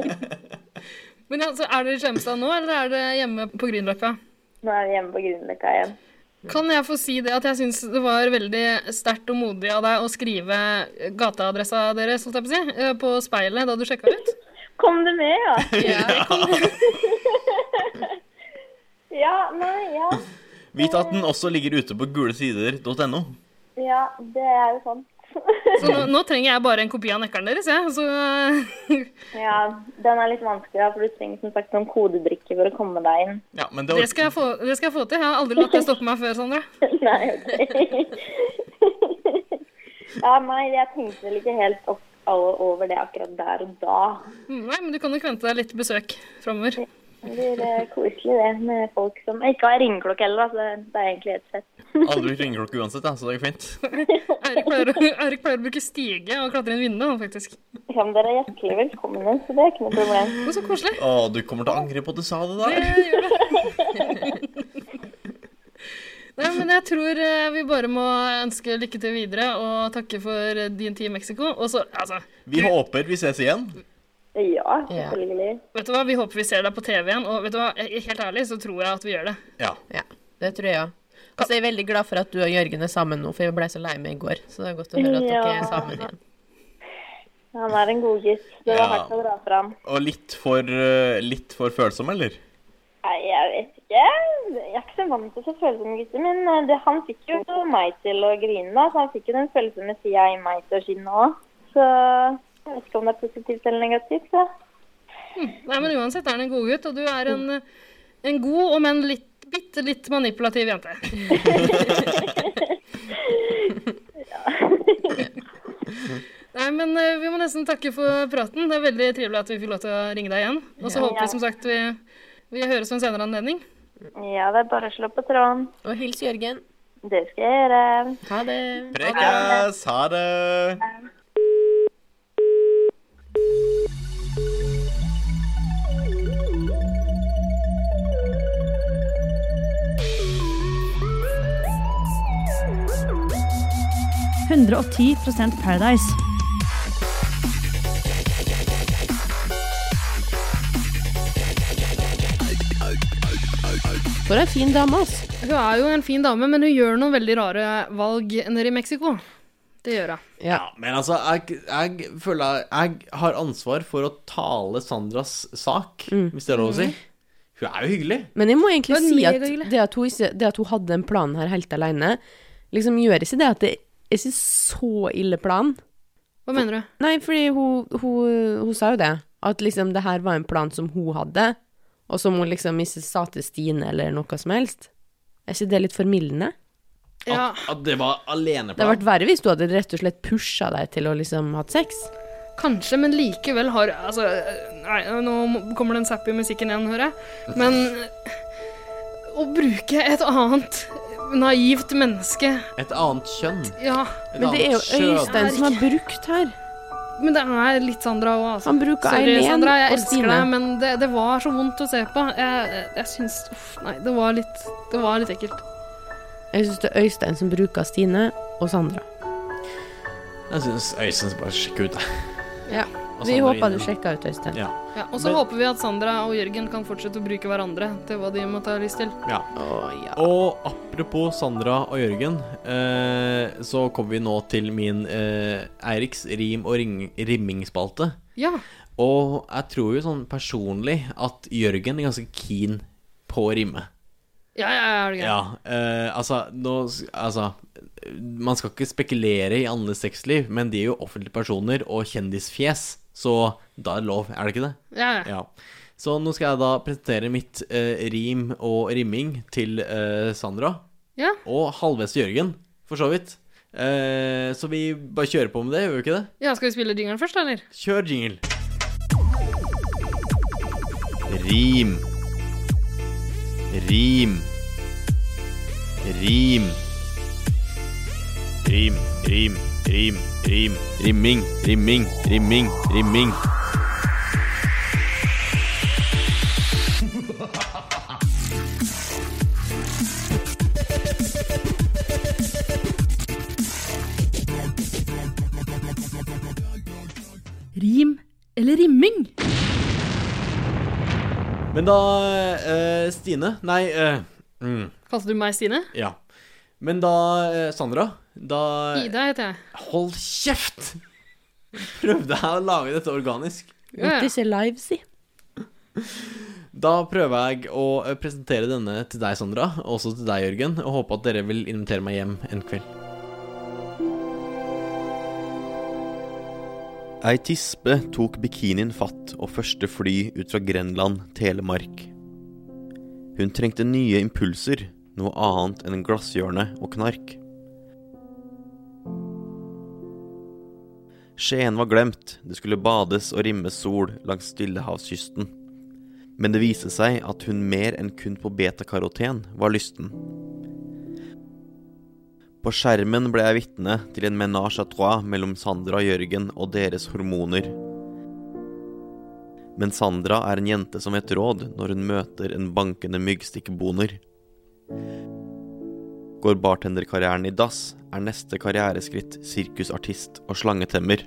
S4: Men altså, er dere i Skjemstad nå, eller er dere hjemme på Grünerløkka?
S14: Nå er vi hjemme på Grünerløkka igjen.
S4: Kan jeg få si det at jeg syns det var veldig sterkt og modig av deg å skrive gateadressa deres holdt jeg på, å si, eh, på speilet da du sjekka ut?
S14: Kom du med, ja? Ja, nei, ja.
S1: Vit at den også ligger ute på gulesider.no.
S14: Ja, det er jo sant.
S4: Så nå, nå trenger jeg bare en kopi av nøkkelen deres, jeg. Så eh,
S14: Ja, den er litt vanskelig, da, for du trenger som sagt noen kodebrikker for å komme deg inn.
S15: Ja, men det,
S4: det skal, jeg få, det skal jeg få til. Jeg har aldri latt det stoppe meg før, Sandra.
S14: Nei, ok. ja, nei, jeg tenkte vel ikke helt opp all- over det akkurat der og da.
S4: Mm, Nei, men du kan nok vente deg litt besøk framover.
S14: Det blir eh, koselig det, med folk som ikke har ringeklokke heller, da, så det er egentlig helt fett.
S15: Aldri bruker ringeklokke uansett, da, så det går fint.
S4: Eirik pleier, Eirik pleier å bruke stige og klatre inn vinduet, han, faktisk.
S14: Ja, men dere er hjertelig velkomne, så det er ikke noe problem.
S4: Så koselig.
S15: Å, du kommer til å angre på at du sa det der.
S4: Nei, men jeg tror eh, vi bare må ønske lykke til videre og takke for eh, din tid i Mexico. Og så, altså
S15: Vi håper vi ses igjen.
S14: Ja, selvfølgelig.
S4: Vet du hva, vi håper vi ser deg på TV igjen, og vet du hva, jeg- helt ærlig så tror jeg at vi gjør det.
S15: Ja.
S16: Ja, det tror jeg òg. Og så er jeg veldig glad for at du og Jørgen er sammen nå, for jeg ble så lei meg i går. Så det er godt å høre at dere er
S14: Ja.
S16: sammen igjen.
S14: Han er en god gutt. Det var
S15: Ja.
S14: hardt å dra fra ham.
S15: Og litt for, eh, litt for følsom, eller?
S14: Nei, jeg vet ikke. Jeg er ikke så vant til så følsomme gutter, men eh, det, han fikk jo meg til å grine, da. Så han fikk jo den følsomme sida i meg til å skinne òg. Så jeg vet ikke om det er positivt eller negativt, da.
S4: Hm. Nei, men uansett er han en god gutt, og du er en, en god, om enn litt, bitte litt manipulativ jente. Nei, men eh, vi må nesten takke for praten. Det er veldig trivelig at vi fikk lov til å ringe deg igjen. Og så
S14: Ja.
S4: håper vi som sagt vi, vi høres ved en senere anledning.
S14: Ja, det er bare å slå på tråden.
S16: Og hils Jørgen.
S14: Det skal jeg gjøre.
S16: Ha det.
S15: Prekkas! Ha det!
S17: Paradise.
S3: For ei fin dame, ass.
S4: Hun er jo en fin dame, men hun gjør noen veldig rare valg nede i Mexico. Det gjør hun.
S1: Ja. men altså, jeg, jeg føler jeg har ansvar for å tale Sandras sak, hvis det er lov å si. Hun er jo hyggelig.
S3: Men jeg må egentlig
S1: Det var
S3: si at
S1: megahyggelig.
S3: det at, hun ikke, det at hun hadde den planen her helt alene, liksom gjør ikke det at det er ikke så ille plan.
S4: Hva mener du?
S3: Nei, fordi hun, hun, hun sa jo det. At liksom det her var en plan som hun hadde, og som hun liksom ikke sa til Stine eller noe som helst. Er ikke det litt formildende?
S1: At, at det var aleneplan.
S3: Det hadde vært verre hvis du hadde rett og slett pusha deg til å liksom hatt sex.
S4: Kanskje, men likevel har Altså, nei, nå må- kommer den zappy musikken igjen, hører jeg. Men å bruke et annet naivt menneske
S1: Et annet kjønn.
S4: Ja.
S1: Et Men det er jo annet kjønn. Øystein som
S3: har brukt her.
S4: Men det er litt Sandra òg, altså.
S3: Han bruker
S4: Sorry,
S3: Eileen
S4: Sandra, jeg
S3: og
S4: elsker
S3: Stine.
S4: deg, men det, det var så vondt å se på. Jeg, jeg syns Uff, nei, det var litt Det var litt ekkelt.
S3: Jeg syns det er Øystein som bruker Stine og Sandra.
S1: Jeg syns Øystein skal bare sjekke ut det.
S3: Ja.
S1: Og
S3: Vi
S1: Sandra
S3: håper
S1: inne.
S3: du sjekka ut Øystein.
S1: Ja.
S4: Ja, og så
S1: Men-
S4: håper vi at Sandra og Jørgen kan fortsette å bruke hverandre til hva de måtte ha lyst til.
S1: Ja. Og apropos Sandra og Jørgen, eh, så kommer vi nå til min eh, Eiriks rim- og ring rimmingsspalte.
S4: Ja.
S1: Og jeg tror jo sånn personlig at Jørgen er ganske keen på å rime.
S4: Ja, ja, ja, er det greit?
S1: Ja, eh, altså, nå, s- altså Man skal ikke spekulere i andres sexliv, men de er jo offentlige personer og kjendisfjes, så da er det lov, er det ikke det?
S4: Ja, ja.
S1: Så nå skal jeg da presentere mitt eh, rim og rimming til eh, Sandra.
S4: Ja.
S1: Og halvveis til Jørgen, for så vidt. Eh, så vi bare kjører på med det, gjør vi ikke det?
S4: Ja, Skal vi spille jingeren først, eller?
S1: Kjør jingle. Rim. Rim. Rim. Rim, rim, rim, rim. Rimming, rimming, rimming, rimming.
S17: Rim eller rimming?
S1: Men da, eh, Stine Nei, eh, mm,
S4: Kalte du meg Stine?
S1: ja. Men da, eh, Sandra Da
S4: Ida heter jeg.
S1: Hold kjeft! Prøvde jeg å lage dette organisk.
S3: Gjort disse live, si.
S1: Da prøver jeg å eh, presentere denne til deg, Sandra, og også til deg, Jørgen, og håper at dere vil invitere meg hjem en kveld. Ei tispe tok bikinien fatt og første fly ut fra Grenland, Telemark. Hun trengte nye impulser, noe annet enn glasshjørne og knark. Skien var glemt, det skulle bades og rimme sol langs stillehavskysten. Men det viste seg at hun mer enn kun på betakaroten var lysten. På skjermen ble jeg vitne til en menage à trois mellom Sandra og Jørgen og deres hormoner. Men Sandra er en jente som vet råd når hun møter en bankende myggstikkboner. Går bartenderkarrieren i dass, er neste karriereskritt sirkusartist og slangetemmer.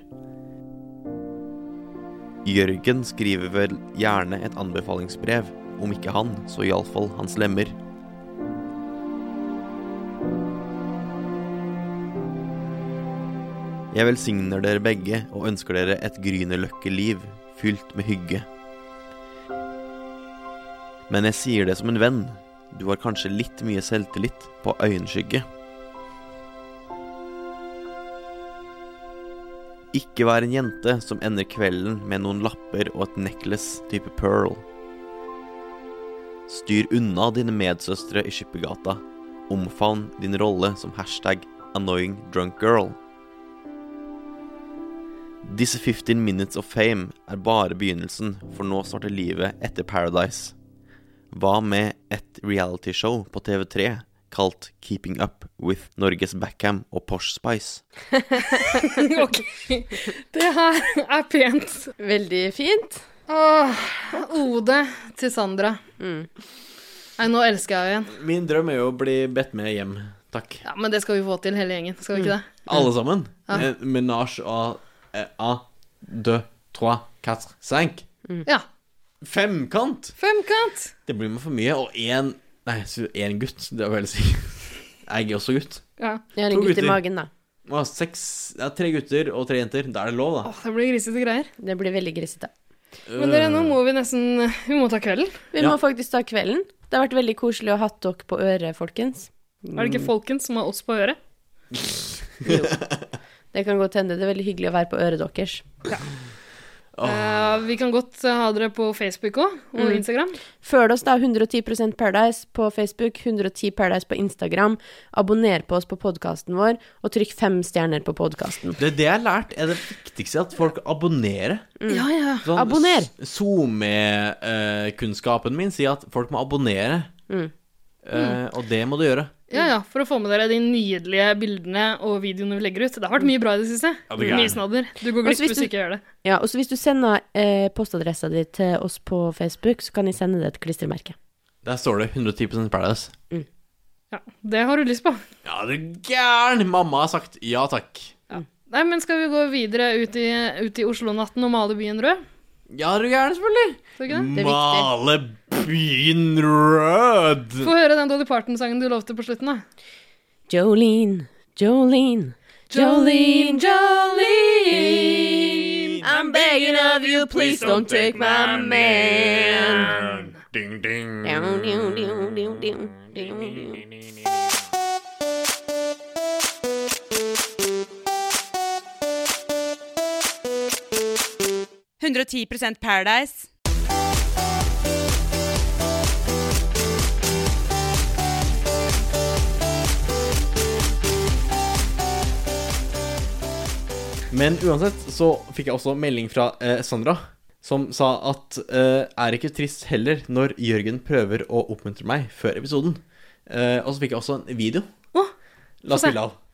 S1: Jørgen skriver vel gjerne et anbefalingsbrev, om ikke han, så iallfall hans lemmer. Jeg velsigner dere begge og ønsker dere et Grünerløkke-liv fylt med hygge. Men jeg sier det som en venn. Du har kanskje litt mye selvtillit på øyenskygge. Ikke vær en jente som ender kvelden med noen lapper og et necklace type pearl. Styr unna dine medsøstre i Skippergata. Omfavn din rolle som hashtag annoying drunk girl. Disse 15 minutes of fame er bare begynnelsen, for nå starter livet etter Paradise. Hva med et realityshow på TV3 kalt Keeping Up with Norges Backham og Posh Spice?
S4: ok. Det her er pent.
S3: Veldig fint.
S4: Åh, Ode til Sandra.
S3: Mm.
S4: Nei, nå elsker jeg henne igjen.
S18: Min drøm er jo å bli bedt med hjem. Takk.
S4: Ja, Men det skal vi få til, hele gjengen. Skal vi ikke det?
S3: Mm.
S18: Alle sammen.
S4: Ja.
S18: Ja. Menage à eh, un, deux, trois, quatre, cinq.
S4: Ja.
S18: Femkant!
S4: Femkant!
S18: Det blir med for mye. Og én Nei, så én gutt. Det er vel sikkert. Jeg er også gutt.
S4: Ja.
S3: Jeg har
S18: To
S3: en gutt i
S18: gutter.
S3: magen, da.
S18: Å, seks ja, Tre gutter og tre jenter. Da er det lov, da.
S4: Det blir grisete greier.
S3: Det blir veldig grisete.
S4: Men dere, nå må vi nesten Vi må ta kvelden.
S3: Vi må faktisk ta kvelden. Det har vært veldig koselig å ha hatt dere på øret, folkens.
S4: Er det
S3: Mm.
S4: ikke folkens som har oss på øret?
S3: Det kan godt hende. Det er veldig hyggelig å være på øret deres.
S4: Eh, vi kan godt eh, ha dere på Facebook òg, og
S3: Mm.
S4: Instagram.
S3: Følg oss da 110 Paradise på Facebook, 110 Paradise på Instagram. Abonner på oss på podkasten vår, og trykk fem stjerner på podkasten.
S18: Det er det jeg har lært, er det viktigste at folk abonnerer. Sånn
S3: Ja,
S4: ja.
S3: Abonner.
S18: SoMe-kunnskapen min sier at folk må abonnere,
S3: Mm.
S18: eh, og det må du gjøre.
S4: Ja, ja, For å få med dere de nydelige bildene og videoene vi legger ut. Det har vært mye bra i det siste.
S3: Ja, det er
S4: mye
S3: gærent.
S4: snadder. Du går
S3: Også
S4: glipp
S3: hvis
S4: hvis
S3: du-
S4: du ikke gjør det.
S3: Ja, og så hvis du sender eh, postadressa di til oss på Facebook, så kan jeg sende deg et klistremerke.
S18: Der står det 110 Paradise.
S4: Ja, Det har du lyst på.
S18: Ja, du gæren! Mamma har sagt ja takk.
S4: Nei, men skal vi gå videre ut i, ut i Oslo-natten og male byen rød?
S18: Ja, du gæren, selvfølgelig.
S4: Skal vi ikke det?
S18: Male byen rød!
S4: Få høre den Dolly Parton-sangen du lovte på slutten, da.
S3: Jolene, Jolene, Jolene, Jolene. I'm begging of you, please don't take my man.
S19: Ding, ding.
S2: Paradise. 110 Paradise.
S18: Men uansett så fikk jeg også melding fra eh, Sandra, som sa at eh, er ikke trist heller når Jørgen prøver å oppmuntre meg før episoden. Eh, og så fikk jeg også en video. La oss
S4: Få se.
S18: spille av.